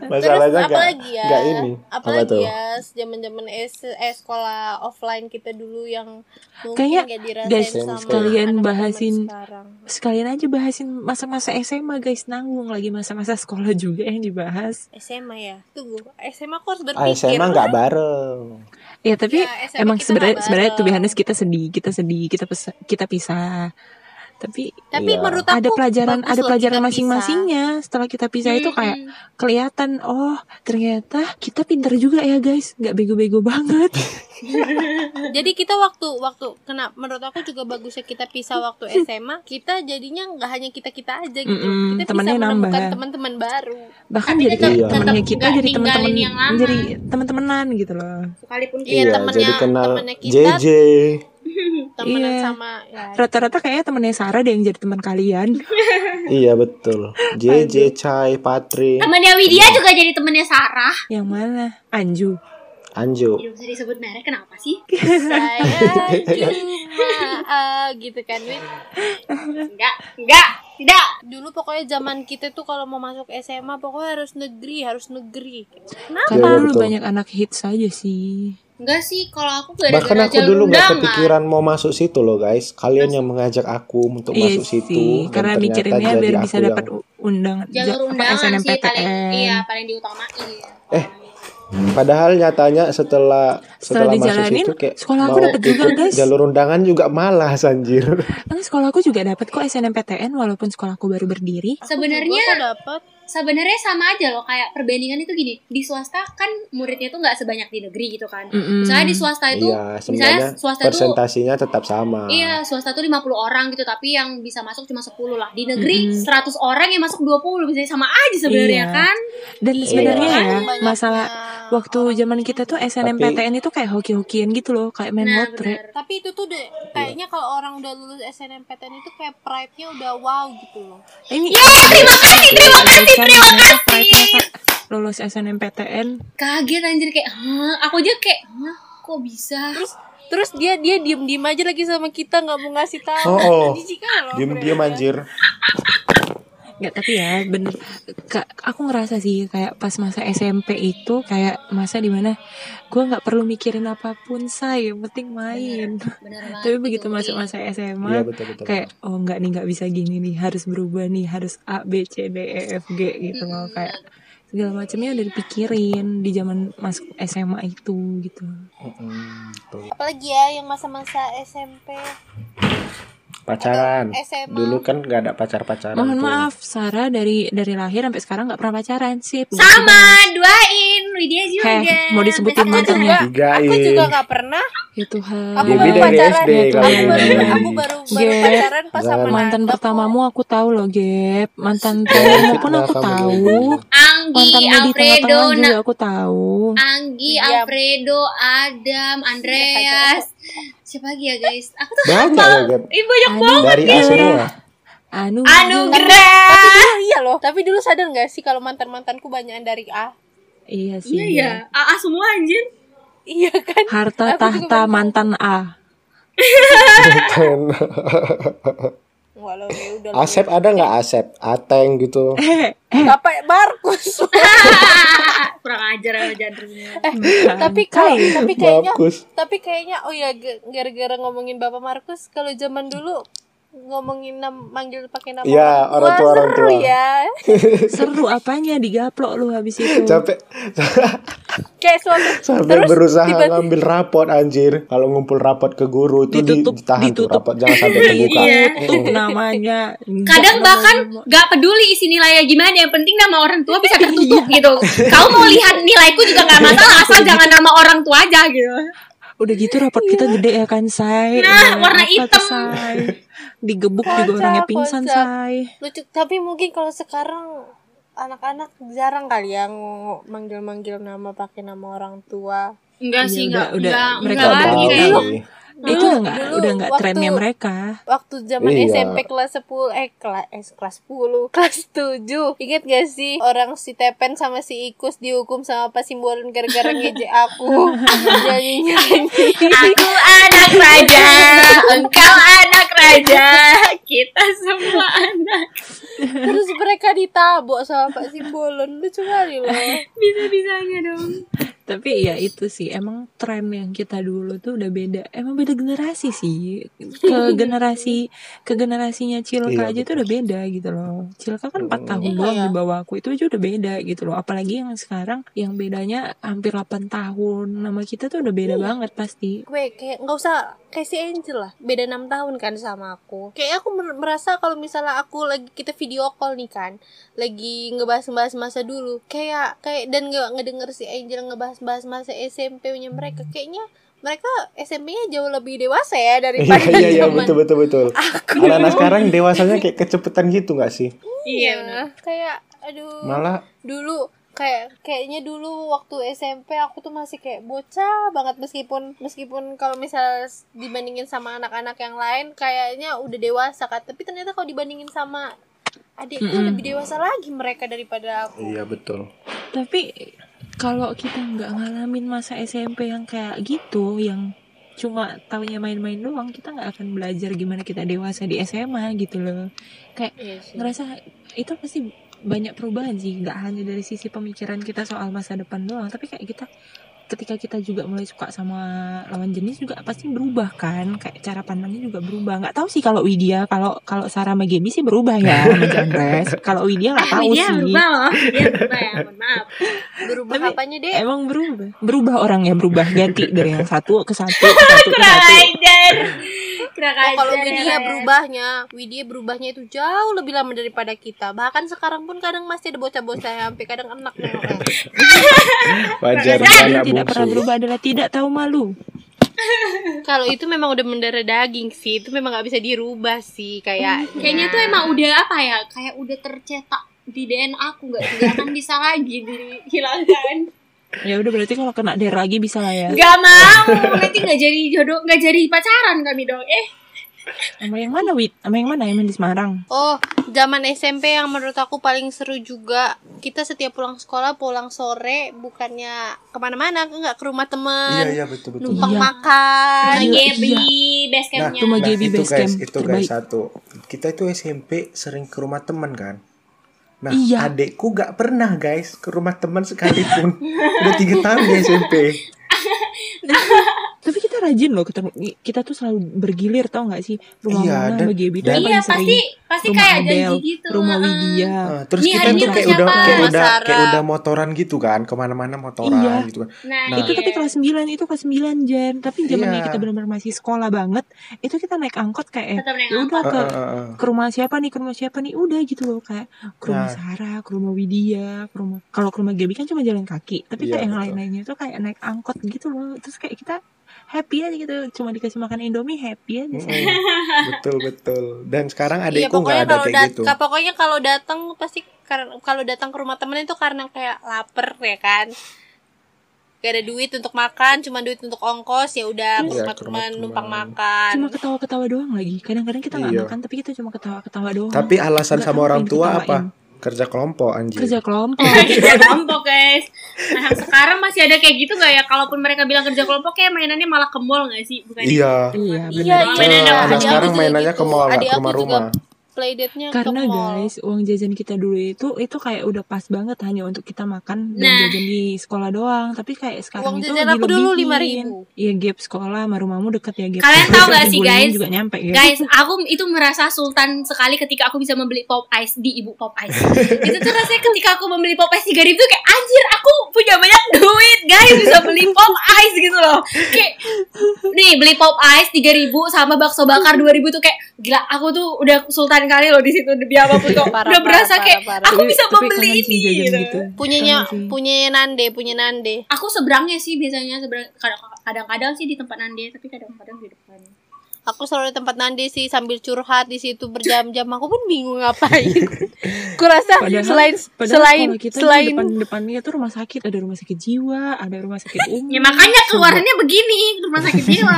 B: masalahnya
D: Terus
B: nggak
D: apalagi ya?
B: nggak ini apa
D: Apalagi
B: tuh
D: ya zaman-zaman es- eh, sekolah offline kita dulu yang mungkin
C: Kayaknya,
D: nggak dirasain
C: guys,
D: sama
C: sekalian
D: anak-anak
C: bahasin-
D: sekarang.
C: sekalian aja bahasin masa-masa SMA guys nanggung lagi masa-masa sekolah juga yang dibahas
D: SMA ya. Tunggu, SMA aku harus
B: ah,
D: berpikir.
B: SMA nggak bareng
C: ya tapi
D: Ya, SMA
C: emang
D: kita
C: sebenarnya
D: nggak
C: sebenarnya tuh
D: bareng.
C: Bihanes kita sedih kita sedih kita pes- kita pisah Tapi
B: Iya.
D: Tapi menurut aku
C: ada pelajaran
D: bagus
C: ada
D: loh
C: pelajaran
D: kita
C: masing-masingnya. Setelah kita pisah itu
A: Mm-mm.
C: kayak kelihatan oh ternyata kita pinter juga ya guys, nggak bego-bego banget.
D: pisah. Jadi kita waktu waktu kena menurut aku juga bagusnya kita pisah waktu SMA. Kita jadinya nggak hanya kita kita aja gitu.
C: Mm-mm,
D: kita
C: temennya
D: bisa menemukan
C: nambah.
D: teman-teman baru.
C: Bahkan
A: Tapi
C: jadi
A: tetap-
C: kayak
B: tetap
C: temannya kita
A: nggak
C: jadi teman-teman
A: ninggalin yang lama.
C: jadi teman-temenan gitu loh.
A: sekalipun
D: Iya,
A: kita
D: temennya-
B: jadi kenal
D: temennya kita-
B: JJ.
D: Temenan
C: Iya.
D: sama ya.
C: Rata-rata kayaknya temennya Sarah deh yang jadi teman kalian.
B: Iya betul. JJ Chai, Patri,
A: temennya Widya juga jadi temennya Sarah
C: Yang mana? Anju.
B: Anju.
A: tidak bisa disebut merek kenapa sih
D: Saya
C: Iya.
D: cuma eh, gitu kan Win.
A: enggak enggak tidak
D: Dulu pokoknya zaman kita tuh kalau mau masuk SMA pokoknya harus negeri, harus negeri.
C: Karena
B: Iya,
C: dulu
B: betul.
C: banyak anak hits aja sih.
A: enggak sih kalau aku gara
B: Bahkan aku dulu
A: enggak
B: nggak kepikiran mau masuk situ loh guys. Kalian yang mengajak aku untuk masuk situ dan
C: Iya karena
B: ternyata
C: mikirinnya
B: jadi
C: biar
B: aku
C: bisa
B: yang-
C: dapat undangan
A: jalur undangan sih paling iya paling diutamain
B: Eh, Padahal nyatanya setelah
C: Setelah
B: setelah, masuk
C: dijalanin,
B: situ kayak
C: sekolah aku
B: mau
C: dapet juga,
B: ikut
C: guys.
B: Jalur undangan juga malas anjir.
C: Kan sekolah aku juga dapat kok SNMPTN walaupun sekolah aku baru berdiri.
A: Sebenarnya-
D: Aku juga dapet
A: sebenarnya sama aja loh kayak perbandingan itu gini di swasta kan muridnya tuh nggak sebanyak di negeri gitu kan
C: Mm-mm.
A: misalnya di swasta itu
B: iya,
A: misalnya
B: sebenarnya
A: swasta tuh
B: presentasinya tetap sama.
A: Iya, swasta tuh 50 orang gitu, tapi yang bisa masuk cuma 10 lah. Di negeri
C: Mm-mm.
A: 100 orang yang masuk 20, bisa sama aja sebenarnya
C: Hmm. Iya.
A: kan?
C: Dan sebenarnya
B: Iya.
C: ya
D: Kan Banyaknya.
C: masalah waktu zaman kita tuh SNMPTN itu kayak hoki-hokian gitu loh, kayak main
A: Nah,
C: lotre.
A: bener.
D: Tapi itu tuh de- kayaknya kalau orang udah lulus SNMPTN itu kayak pride-nya udah wow gitu loh.
C: Eh, Ini
A: Ya, terima kasih, terima kasih, terima kasih.
C: Lulus SNMPTN
A: Kaget anjir kayak, "Hah?" aku aja kayak, "Hah? Kok bisa?"
D: Terus terus dia dia diem-diem aja lagi sama kita nggak mau ngasih tahu.
B: Oh, oh.
D: Jijik kan loh,
B: Diem-diem
D: bener.
B: anjir.
C: Nggak, tapi ya bener Ka- aku ngerasa sih kayak pas masa SMP itu kayak masa dimana gue nggak perlu mikirin apapun saya yang penting main
A: Bener banget.
C: tapi
A: itu.
C: begitu masuk
A: Iya.
C: masa
B: Iya
C: SMA
B: betul betul.
C: kayak oh nggak nih nggak bisa gini nih harus berubah nih harus A B C D E F G gitu loh kayak segala macamnya udah dipikirin di zaman masuk SMA itu gitu
B: Mm-mm, betul.
D: Apalagi ya yang masa-masa SMP.
B: Pacaran.
D: SMA.
B: Dulu kan nggak ada pacar-pacaran.
C: mohon
B: tuh.
C: maaf Sarah dari dari lahir sampai sekarang nggak pernah pacaran sih
A: Sama, Iya, duain Widya juga.
C: Heh, Eh, mau disebutin
A: Besok
C: mantan
A: ada-
C: ya?
D: Aku
B: Digain.
D: juga nggak pernah.
C: ya Tuhan
D: Aku
B: Debbie
D: baru
B: dari
D: pacaran.
B: SD
D: aku
B: kali
D: baru,
B: ini.
D: aku baru, baru
C: Gap.
D: pacaran pas sama
B: Jangan.
C: Iya. mantan
D: Nanda kok.
C: pertamamu aku tahu loh Gap mantan
B: Jangan
C: pertamamu pun
B: fitnah
C: aku
B: kamu,
C: tahu
B: Debbie.
A: Anggi,
C: mantanmu di
A: Alfredo, nah.
C: tengah-tengah juga
A: Na-
C: aku tahu
A: Anggi,
D: Diam.
C: Iya.
A: Alfredo, Adam, Andreas. Siapa lagi ya, guys? Aku tuh
B: Banyak ya, Gap.
A: Ih, banyak
C: Aduh.
A: banget.
B: Dari A
C: Iya.
B: semua.
C: Anu
A: Anugerah.
D: Tapi dulu iya loh. Tapi dulu sadar nggak sih kalau mantan mantanku banyakan dari A?
C: iya sih
A: Iya ya, AA semua anjir.
D: Iya kan?
C: harta
D: Aku juga
C: tahta
D: baru tahu.
C: mantan A
D: Walau ya udah. lah.
B: Asep ada nggak Asep? Ateng gitu.
D: Bapak Markus.
A: Kurang ajar sama jadrnya.
D: Eh, tapi kalau tapi kayaknya
B: Bagus.
D: tapi kayaknya oh ya ge- gara-gara ngomongin bapak Markus kalau zaman dulu ngomongin nam- manggil pakai nama
B: Iya, orang tua, orang
D: seru
B: tua.
C: Iya.
D: ya
C: seru apanya digaplok lu habis itu
B: Capek.
D: kayak suatu
B: Sampai
D: terus
B: berusaha
D: tiba-
B: ngambil rapot anjir. Kalau ngumpul rapot ke guru itu di-
C: Ditutup,
B: ditahan tuh
C: ditutup. Iya.
B: rapot jangan sampai Hmm. terbuka.
C: tuh namanya
A: Kadang bahkan gak peduli isi nilainya gimana, yang penting nama orang tua bisa tertutup
C: Iya.
A: gitu. Kau mau lihat nilaiku juga gak masalah, asal jangan nama orang tua aja gitu.
C: udah gitu rapot kita
D: Iya.
C: gede ya kan say
A: Nah, warna
C: apa tuh,
A: hitam.
C: Say? digebuk juga
D: Kocak,
C: orangnya pingsan
D: kocak.
C: say
D: lucu tapi mungkin kalau sekarang anak-anak jarang kali ya ngo- manggil-manggil nama pakai nama orang tua
A: Enggak
C: Iya,
A: sih,
C: udah-
A: enggak,
C: udah.
A: enggak,
C: Mereka
A: enggak
B: Nggak
C: lagi
A: lagi
B: tahu
A: kayaknya.
B: sih.
C: itu udah nggak
D: dulu
C: udah nggak
D: waktu-
C: trennya mereka
D: waktu zaman
B: Iya.
D: SMP kelas 10 eh kelas eh, kelas 10 kelas 7 ingat gak sih orang si Tepen sama si Ikus dihukum sama Pak Simbolon gara-gara ngejek aku nyanyi nyanyi
A: Aku anak raja, engkau anak raja, kita semua anak.
D: terus mereka ditabok sama Pak Simbolon lucu kali loh
A: Bisa-bisanya dong.
C: tapi ya itu sih emang tren yang kita dulu tuh udah beda emang beda generasi sih ke generasi ke generasinya Cilka
B: Iya,
C: aja tuh udah beda gitu loh Cilka kan 4 tahun
D: Iya,
C: doang
D: iya.
C: di bawah aku itu aja udah beda gitu loh apalagi yang sekarang yang bedanya hampir 8 tahun nama kita tuh udah beda banget pasti
D: gue kayak nggak usah kayak si Angel lah beda enam tahun kan sama aku kayak aku mer- merasa kalau misalnya aku lagi kita video call nih kan lagi ngebahas-bahas masa dulu kayak kayak dan nggak ngedenger si Angel ngebahas-bahas masa SMP-nya mereka kayaknya mereka SMP-nya jauh lebih dewasa ya
B: Iya
D: daripada
B: iya iya
D: zaman
B: betul betul betul. Anak-anak sekarang dewasanya kayak kecepetan gitu nggak sih?
D: iya bener. kayak aduh
B: Malah
D: dulu kayak kayaknya dulu waktu SMP aku tuh masih kayak bocah banget meskipun meskipun kalau misalnya s- dibandingin sama anak-anak yang lain kayaknya udah dewasa kan tapi ternyata kalau dibandingin sama adikku
C: Mm-mm.
D: lebih dewasa lagi mereka daripada aku
B: iya betul.
C: tapi kalau kita nggak ngalamin masa SMP yang kayak gitu yang cuma taunya main-main doang kita nggak akan belajar gimana kita dewasa di SMA gitu loh
D: Iya
C: ngerasa itu pasti banyak perubahan sih nggak hanya dari sisi pemikiran kita soal masa depan doang tapi kayak kita ketika kita juga mulai suka sama lawan jenis juga pasti berubah kan kayak cara pandangnya juga berubah nggak tahu sih kalau Widya kalau kalau Sarah sama Gaby sih berubah ya sama Jandres. kalau Widya nggak tahu
A: dia
C: sih
A: berubah loh dia berubah ya mohon maaf
D: berubah
C: Tapi-
D: apanya deh
C: Emang berubah? Berubah orangnya, berubah ganti dari yang satu ke satu ke satu ke
A: kurang
C: satu.
A: ajar kurang
D: Oh,
A: ajar
D: kalau
A: ya,
D: Widya
A: Ren.
D: berubahnya, Widya berubahnya itu jauh lebih lama daripada kita. Bahkan sekarang pun kadang masih ada bocah-bocah yang sampai kadang enak nengoknya.
B: Wajar
C: Orang
B: anak
C: yang tidak pernah
B: bungsu.
C: berubah adalah tidak tahu malu.
D: Kalau itu memang udah mendarah daging sih, itu memang nggak bisa dirubah sih kayak.
A: kayaknya tuh emang udah apa ya kayak udah tercetak di DNA aku nggak nggak akan bisa lagi dihilangkan
C: Ya udah berarti kalau kena der lagi bisa lah ya.
A: nggak mau nanti nggak jadi jodoh nggak jadi pacaran kami dong eh
C: Sama yang mana Wit? Sama yang mana yang main di Semarang?
D: Oh, zaman SMP yang menurut aku paling seru juga. Kita setiap pulang sekolah, pulang sore, bukannya kemana-mana, enggak ke rumah
B: Iya
D: temen,
B: iya betul betul.
D: numpang
C: Iya.
D: makan.
C: Iya,
A: Gebi
C: iya.
A: base
B: Nah,
A: campnya
C: Cuma
B: nah,
C: GB
B: itu
C: base
B: guys,
C: camp
B: itu guys
C: terbaik.
B: satu. Kita itu SMP sering ke rumah teman kan. Nah,
C: Iya.
B: adekku gak pernah guys ke rumah teman sekalipun. Udah tiga tahun di SMP.
D: Iya.
C: Tapi kita rajin loh ketemu. Kita tuh selalu bergilir tau nggak sih? Rumah
B: Iya,
C: mana
B: dan-
C: sama Gaby tuh
B: dan-
C: yang
A: iya
C: paling sering.
A: pasti pasti
C: rumah
A: kayak
C: Adele,
A: janji gitu
C: rumah
A: heeh.
C: Widya.
B: Nah, terus
A: Ini
B: kita
A: hari
B: tuh
A: ini
B: kayak
A: siapa?
B: udah kayak
D: Iya, Mas
B: udah
D: Sarah.
B: kayak udah motoran gitu kan, kemana-mana motoran
C: Iya.
B: gitu kan.
A: nah,
B: Nah.
C: Itu
A: iya.
C: tapi kelas 9, itu kelas 9 Jan. Tapi zamannya
B: Iya.
C: kita benar-benar masih sekolah banget, itu kita naik angkot kayak
A: tetap naik
C: ya udah
A: angkot
B: Eh,
C: ke
B: eh, eh, eh.
C: ke rumah siapa nih ke rumah siapa nih udah gitu loh kayak ke rumah
B: Nah.
C: Sarah ke rumah Widya ke rumah kalau ke rumah Gaby kan cuma jalan kaki tapi
B: Iya,
C: kayak yang
B: betul.
C: lain-lainnya tuh kayak naik angkot gitu loh terus kayak kita happy aja gitu cuma dikasih makan Indomie happy aja
B: Mm-mm. betul betul. Dan sekarang
D: Iya,
B: adekku
D: pokoknya
B: nggak ada
D: kalau
B: kayak
D: dat-
B: gitu.
D: ka- pokoknya kalau datang pasti kar- kalau datang ke rumah temen itu karena kayak lapar ya kan. Gak ada duit untuk makan, cuma duit untuk ongkos, ya udah
B: Iya,
D: ke rumah
B: ke rumah
D: temen
B: teman.
D: numpang makan.
C: cuma ketawa-ketawa doang lagi kadang-kadang kita nggak
B: Iya.
C: makan tapi kita cuma ketawa-ketawa doang
B: Tapi alasan
C: Nggak
B: sama
C: tahu
B: orang
C: pengen
B: tua
C: ketawain.
B: apa? Kerja kelompok
A: Iya.
B: anjir.
C: kerja kelompok
A: kerja kelompok guys nah sekarang masih ada kayak gitu gak ya kalaupun mereka bilang kerja kelompok kayak mainannya malah ke mall gak sih bukan
B: Iya.
C: iya benar
D: Iya,
A: Bener.
D: iya,
A: Mainannya
D: iya.
A: apa?
D: Adik
A: Anak
D: aku
B: sekarang
D: juga
B: mainannya ke
D: gitu.
B: mall, nggak
D: Adik
B: ke
D: aku juga
B: rumah-rumah.
A: Iya,
D: Playdate-nya
C: karena
D: ke mall.
C: guys uang jajan kita dulu itu itu kayak udah pas banget hanya untuk kita makan dan
A: Nah.
C: jajan di sekolah doang tapi kayak sekarang
D: Uang
C: itu
D: jajan aku dulu
C: dilebihin.
D: 5.000.
C: iya gap sekolah sama rumahmu deket ya gap
A: Kalian tahu
C: sekolah. Terus
A: nggak sih,
C: bulannya
A: guys?
C: juga nyampe
D: Iya.
C: ya
A: Guys, aku itu merasa sultan sekali ketika aku bisa membeli pop ice di ibu pop ice. itu tuh rasanya ketika aku membeli pop ice tiga ribu tuh kayak anjir aku punya banyak duit guys bisa beli pop ice gitu loh. Kayak nih beli pop ice tiga ribu sama bakso bakar dua ribu tuh kayak gila aku tuh udah sultan kali loh di situ demi apapun kok.
D: Parah,
A: udah
D: parah,
A: berasa
D: parah,
A: kayak
D: parah.
A: aku bisa
C: Tapi
A: membeli
C: kangen sih
A: ini
C: jajan
A: gitu.
C: gitu.
D: Punyanya
C: Kangen sih.
D: punyanya Nande, punya Nande.
A: Aku seberangnya sih biasanya seberang kadang- kadang-kadang sih di tempat Nande tapi kadang-kadang di depan.
D: aku selalu di tempat Nandi sih sambil curhat di situ berjam-jam aku pun bingung ngapain kurasa
C: Padahal-
D: selain
C: Padahal
D: selain
C: sekolah kita
D: selain
C: depan depannya tuh rumah sakit ada rumah sakit jiwa ada rumah sakit umum
A: Ya makanya keluarannya begini rumah sakit jiwa.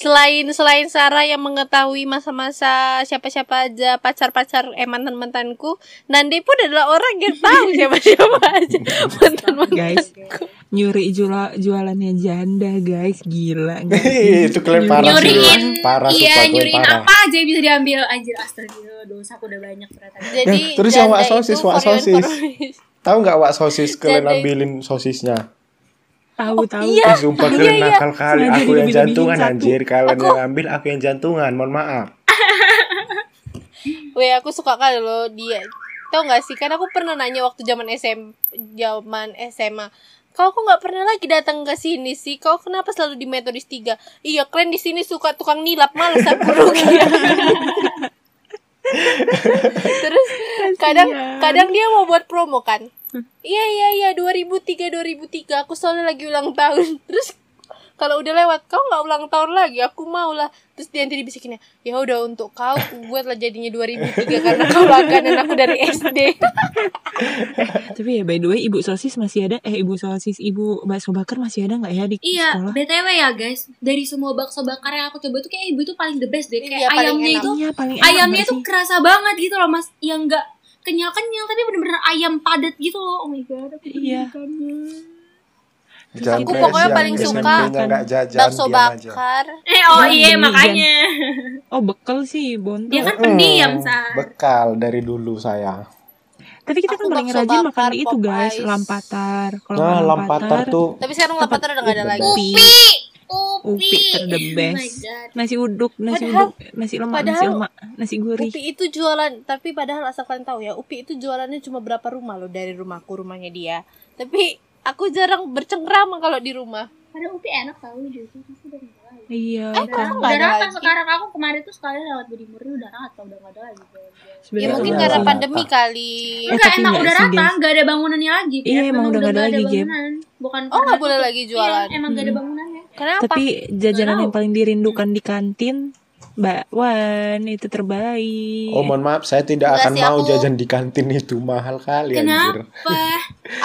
D: selain selain Sarah yang mengetahui masa-masa siapa-siapa aja pacar-pacar eh mantan-mantanku Nandi pun adalah orang yang tahu siapa-siapa aja mantan-mantan
C: guys nyuri jual jualannya janda guys gila nggak sih?
B: Ih, Iya, itu kalian parah sih.
A: nyuriin
B: Parah
A: iya
B: sumpah, kalian
A: nyuriin
B: parah.
A: apa aja yang bisa diambil anjir astagfirullah dosa aku udah banyak ternyata
D: jadi
B: Nah, terus yang
D: janda
B: wak sosis,
D: itu
B: wak
D: for your
B: sosis.
D: information.
B: Tahu nggak wak sosis kalian
D: Jadi-
B: ambilin sosisnya?
C: tahu tahu
B: Ih, sumpah
D: Iya,
B: kalian
D: iya.
B: nakal kali.
C: Sengaja
B: Aku yang
C: dilebih-lebihin
B: jantungan
C: satu.
B: anjir. Kalian yang ambil, aku yang jantungan. Mohon maaf.
D: Weh aku suka kali loh dia. Tau gak sih? Kan aku pernah nanya waktu zaman SM, zaman SMA. Kau kok nggak pernah lagi datang ke sini sih? Kau kenapa selalu di metodis 3? Iya, kalian di sini suka tukang nilap, males aku rugi. Terus kadang kadang dia mau buat promo kan. Iya iya iya 2003 2003 aku soalnya lagi ulang tahun. Terus kalau udah lewat kau nggak ulang tahun lagi aku mau lah terus dia nanti dibisikinnya ya udah untuk kau aku buat lah jadinya 2003 karena kau langganan aku dari SD
C: tapi ya by the way ibu sosis masih ada eh ibu sosis ibu bakso bakar masih ada nggak ya di
A: Iya,
C: sekolah
A: BTW ya guys, dari semua bakso bakar yang aku coba tuh kayak ibu itu paling the best deh. Kayak
D: Iya, paling
A: ayamnya
D: enak.
A: itu,
C: Iya, paling enak
A: ayamnya
C: nggak
A: tuh
C: sih?
A: kerasa banget gitu loh mas, yang enggak kenyal-kenyal tapi bener-bener ayam padat gitu loh. Oh my god, aku kan.
C: Iya.
A: merindukannya.
B: Jangan
D: aku pokoknya
B: siang,
D: paling
B: SMB-nya
D: suka
B: nggak jajan,
D: bakso
B: diam aja.
D: bakar
A: Eh oh
C: Jangan
A: iya
C: demi,
A: makanya
C: oh bekal sih bontot
A: dia kan pendiam
B: Hmm,
A: sa.
B: Bekal dari dulu saya.
C: tapi kita kan
D: Aku
C: paling
D: bakso
C: rajin
D: bakar,
C: makan itu guys
D: Popeyes.
C: lampatar kalau
B: Nah,
C: nggak
B: lampatar tuh
D: tapi sekarang lapatar udah gak ada lagi
B: Upi.
A: Upi, upi,
C: upi ter the
A: Oh my
C: best
A: god.
C: nasi uduk nasi
D: Padahal-
C: uduk nasi lemak nasi
D: padahal-
C: lemak nasi gurih
D: Upi itu jualan, tapi padahal asal kalian tahu ya, Upi itu jualannya cuma berapa rumah loh dari rumahku, rumahnya dia. Tapi aku jarang bercengkrama kalau di rumah.
A: Padahal upi enak tau justru tapi udah nggak ada lagi.
C: iya
D: Eh,
C: kan.
D: kamu nggak
A: Udah
D: ada
A: rata
D: lagi.
A: sekarang aku kemarin tuh sekali lewat Budi Murni udah rata udah nggak ada lagi.
D: Ya
C: Sebenarnya
D: mungkin
B: iya,
D: karena
B: iya.
D: pandemi kali.
C: Eh,
A: Enggak
C: tapi
A: Kan emang
C: nggak
A: udah
C: sih,
A: rata,
C: guys?
A: nggak ada bangunannya lagi.
C: Iya,
A: Kayak
C: emang udah nggak ada lagi, Hmm. Gem.
A: bangunan. Bukan
D: Oh
A: karena
D: nggak boleh
A: tutup.
D: lagi jualan.
A: Iya, emang nggak ada bangunannya.
D: Kenapa?
C: Tapi jajanan
A: Nggak
C: yang
A: tahu.
C: paling dirindukan di kantin bakwan itu terbaik.
B: Oh mohon maaf, saya tidak
D: Enggak
B: akan
D: sih,
B: mau
D: aku-
B: jajan di kantin itu mahal kali anjir.
A: Kenapa?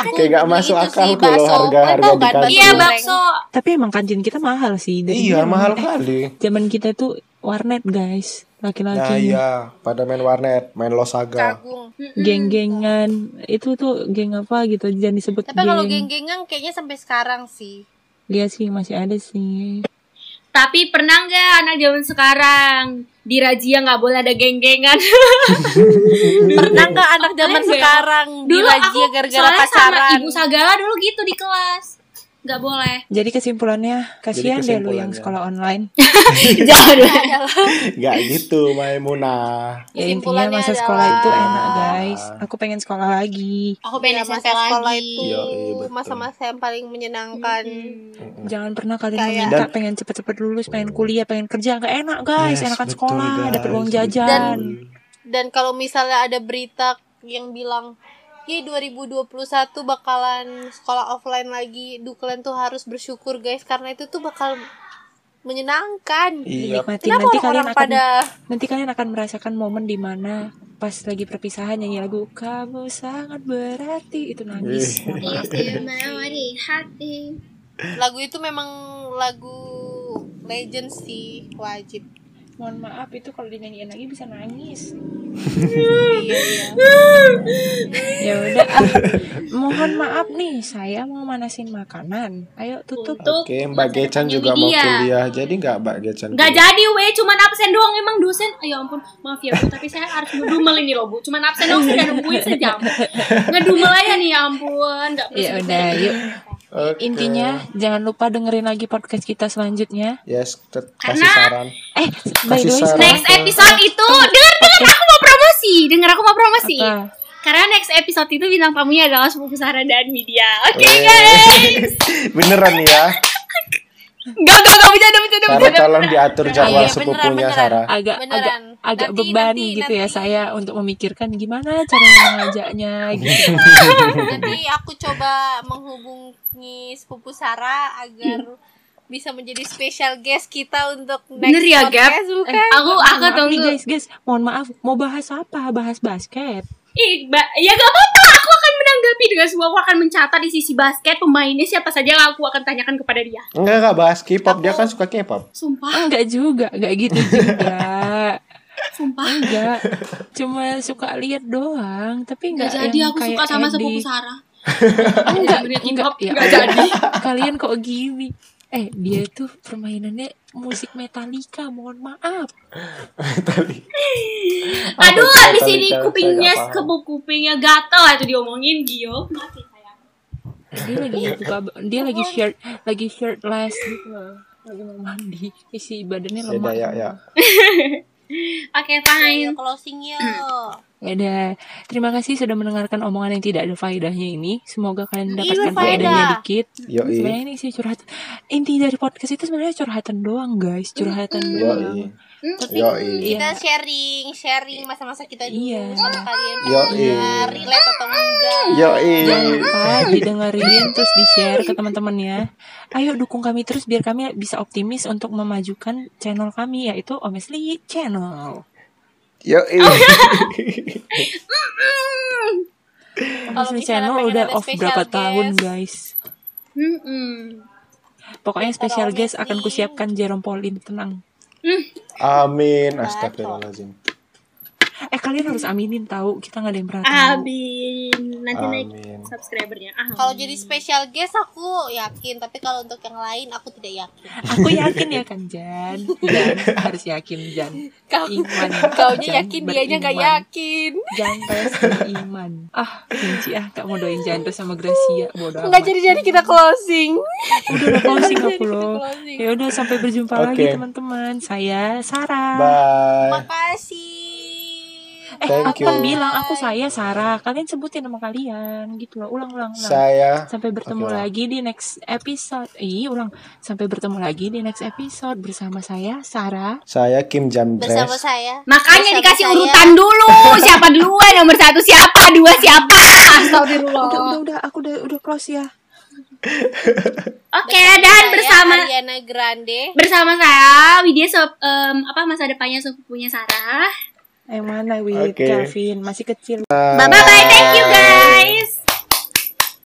D: aku
B: Kayak nggak
D: beli
B: masuk
D: itu
B: akal
D: sih,
B: kalau
D: bakso.
B: harga-
D: Kalian
B: harga
D: tahu
B: di
D: kan
B: kantin.
A: Iya
D: bakso goreng?
A: bakso.
C: Tapi emang kantin kita mahal sih. Dari
B: Iya
C: dulu
B: mahal
C: emang- eh,
B: kali.
C: zaman kita tuh warnet guys,
B: Nah
C: laki-laki
B: iya, pada main warnet, main losaga.
D: Jagung.
A: Mm-mm.
C: geng-gengan itu tuh geng apa gitu jangan disebut
D: Tapi kalau
B: Hmm.
C: geng.
D: geng-gengan kayaknya sampai sekarang sih.
C: Iya sih masih ada sih.
A: Tapi pernah nggak anak zaman sekarang di razia nggak boleh ada geng-gengan?
D: Pernah nggak anak zaman
A: Kalian
D: sekarang
A: ya? dulu aku
D: dirajia gara-gara
A: soalnya sama
D: pacaran?
A: ibu Sagala dulu gitu di kelas. Nggak boleh.
C: Jadi kesimpulannya kasihan deh lu yang
B: kesimpulannya.
C: sekolah online.
A: Jangan.
B: Gak gitu Maimunah.
C: Ya intinya
D: Kesimpulannya
C: masa sekolah itu
D: adalah-
C: enak guys. Aku pengen sekolah lagi.
A: Aku
D: Iya,
A: pengen
D: masa
A: SMP
D: sekolah
A: lagi.
D: itu
B: Iya, iya, betul.
D: masa-masa yang paling menyenangkan.
C: Jangan pernah kalian
D: Kayak-
C: meminta
B: Iya. Dan-
C: pengen cepet-cepet lulus, pengen kuliah, pengen kerja nggak enak guys,
B: Yes,
C: enakan
B: betul,
C: sekolah,
B: guys,
C: dapet uang
B: betul.
C: jajan.
D: Dan kalau misalnya ada berita yang bilang Ya 2021 bakalan sekolah offline lagi Duh kalian tuh harus bersyukur guys Karena itu tuh bakal menyenangkan
B: Iya.
C: Dinikmati.
D: Kenapa
C: Nanti kalian
D: orang-orang
C: akan
D: pada
C: nanti kalian akan merasakan momen dimana pas lagi perpisahan nyanyi lagu kamu sangat berarti itu nangis.
B: Ih.
C: Nggak apa-apa.
A: Istimewa di hati.
D: Lagu itu memang lagu legend sih Wajib
C: Mohon maaf itu kalau dinyanyiin lagi bisa nangis.
D: Iya iya
C: Ya udah. ah. Mohon maaf nih, saya mau manasin makanan. Ayo tutup.
A: Untuk
B: Oke, Mbak
A: masa
B: Gecan
A: depannya
B: juga mau
A: Widya.
B: kuliah. Jadi nggak Mbak Gecan?
A: Nggak
B: kuliah?
A: jadi weh, cuman absen doang emang dosen Ya ampun, maaf ya bu, tapi saya harus ngedumel ini loh bu Cuman absen doang saya udah nungguin sejam Ngedumel aja nih ya ampun Nggak
C: Ya udah, yuk.
B: Oke.
C: Intinya jangan lupa dengerin lagi podcast kita selanjutnya.
B: Yes, tet- kasih
A: Karena-
B: saran.
C: Eh, by the way,
B: Kasih saran.
C: sekarang-
A: Next episode itu, denger denger aku mau promosi Denger aku mau promosi
C: Apa?
A: Karena next episode itu bintang tamunya adalah sepupu Sarah dan media Oke
B: Weh.
A: guys
B: Beneran nih ya.
A: Nggak, nggak, nggak, bercanda, bercanda,
B: Sarah
A: bercanda
B: tolong diatur jadwal
D: Iya, beneran,
B: sepupunya
D: beneran.
B: Sarah.
C: agak agak
D: Beneran.
C: agak
D: Nanti-
C: beban
D: nanti-
C: gitu ya
D: nanti.
C: saya untuk memikirkan gimana cara mengajaknya gitu.
D: Nanti aku coba menghubungi sepupu Sarah agar bisa menjadi special guest kita untuk next
A: Bener ya, Gap?
D: podcast, bukan?
A: Aku,
C: Mohon
A: aku
C: maaf nih,
A: tunggu
C: guys, guys, mohon maaf, mau bahas apa? Bahas basket.
A: Ih, ba- ya gak apa-apa, aku akan menanggapi dengan semua Aku akan mencatat di sisi basket pemainnya siapa saja yang aku akan tanyakan kepada dia
B: Enggak enggak bahas K-pop, dia
D: Aku-
B: kan suka K-pop.
A: Sumpah
C: Enggak juga, enggak gitu juga.
A: Sumpah
C: Enggak. Cuma suka lihat doang, tapi
A: Gak
C: enggak
A: jadi
C: yang
A: aku
C: kayak
A: suka sama
C: Eddie.
A: sepupu Sarah
C: Enggak,
A: Yang dunia
C: enggak,
A: K-pop,
C: ya
A: enggak
C: Allah. Kalian kok gini? Eh, dia tuh permainannya musik Metallica, mohon maaf.
B: Tali. Apa
A: Aduh
B: itu
A: abis ini
B: Metallica? Saya nggak
A: kupingnya
B: paham.
A: Kebuk kupingnya gatel lah itu diomongin Gio Mati saya
C: dia lagi
B: Iya.
C: buka dia lagi shirt lagi shirtless gitu loh. lagi mau mandi isi badannya
B: Ya
C: lemah
B: dah, ya, ya.
A: Oke,
D: Ayo
A: fine.
D: closing yuk.
C: Yaudah, terima kasih sudah mendengarkan omongan yang tidak ada faedahnya ini. Semoga kalian
D: Iya,
C: mendapatkan
D: berfaedah.
C: faedahnya dikit.
B: Yoi.
C: Sebenarnya ini sih curhatan. Inti dari podcast itu sebenarnya curhatan doang, guys. Curhatan doang.
B: Yoi.
D: Tapi
B: Yoi.
D: kita sharing, sharing masa-masa kita dulu
C: Iya.
D: sama kalian.
B: Yoi.
D: pendengar, relate atau enggak?
B: Yoi.
C: Jangan lupa didengerin terus di-share ke teman-temannya. Ayo dukung kami terus biar kami bisa optimis untuk memajukan channel kami yaitu Omesli Channel.
A: Iya.
B: Yoi.
D: Kalau
C: Omesli
D: misalnya
C: Channel
D: pengen
C: udah
D: ada
C: off
D: special
C: berapa
D: guest.
C: tahun, guys.
A: Hmm.
C: Pokoknya
D: Antara
C: special
D: Omesli.
C: guest akan kusiapkan Jerome Pauline, tenang.
B: Amin. Astagfirullahaladzim.
C: Eh kalian harus aminin tahu, kita nggak ada yang pernah tahu.
A: Amin. Nanti naik
B: Amin.
A: subscribernya. Ah.
D: Kalau jadi special guest aku yakin, tapi kalau untuk yang lain aku tidak yakin.
C: Aku yakin ya kan Jan. Jan harus yakin Jan.
D: Kau
C: Iman.
D: Kaunya
C: Jan
D: yakin, dianya gak
C: beriman.
D: yakin.
C: Jan tes iman. Ah, benci ah gak mau doain Jan terus sama Gracia bodoh.
D: Nggak
C: amat.
D: jadi-jadi kita closing.
C: udah udah closing aku
D: Jadi
C: loh.
D: kita closing.
C: Ya udah sampai berjumpa lagi
B: Oke.
C: teman-teman. Saya Sarah.
B: Bye.
D: Makasih.
C: Eh,
B: Thank
C: aku
B: you.
C: kan bilang aku saya Sarah. Kalian sebutin nama kalian gitu loh. Ulang-ulang.
B: Saya
C: Sampai bertemu
B: Oke, ulang.
C: lagi di next episode. Ih, ulang. Sampai bertemu lagi di next episode bersama saya Sarah.
B: saya Kim Jam
D: Bersama
B: Dress.
D: saya.
A: Makanya
D: Bersama
A: dikasih
D: saya.
A: urutan dulu. Siapa duluan? Nomor satu siapa? Dua siapa?
C: Udah,
A: Astagfirullah.
C: udah, udah. Aku udah udah close ya.
A: Oke, dan
D: Saya
A: bersama
D: Ariana Grande.
A: bersama saya Widya sop, em, apa masa depannya sepupunya Sarah.
C: Yang mana, Wid?
B: Oke.
C: Kelvin masih kecil.
A: Bye bye. Thank you guys.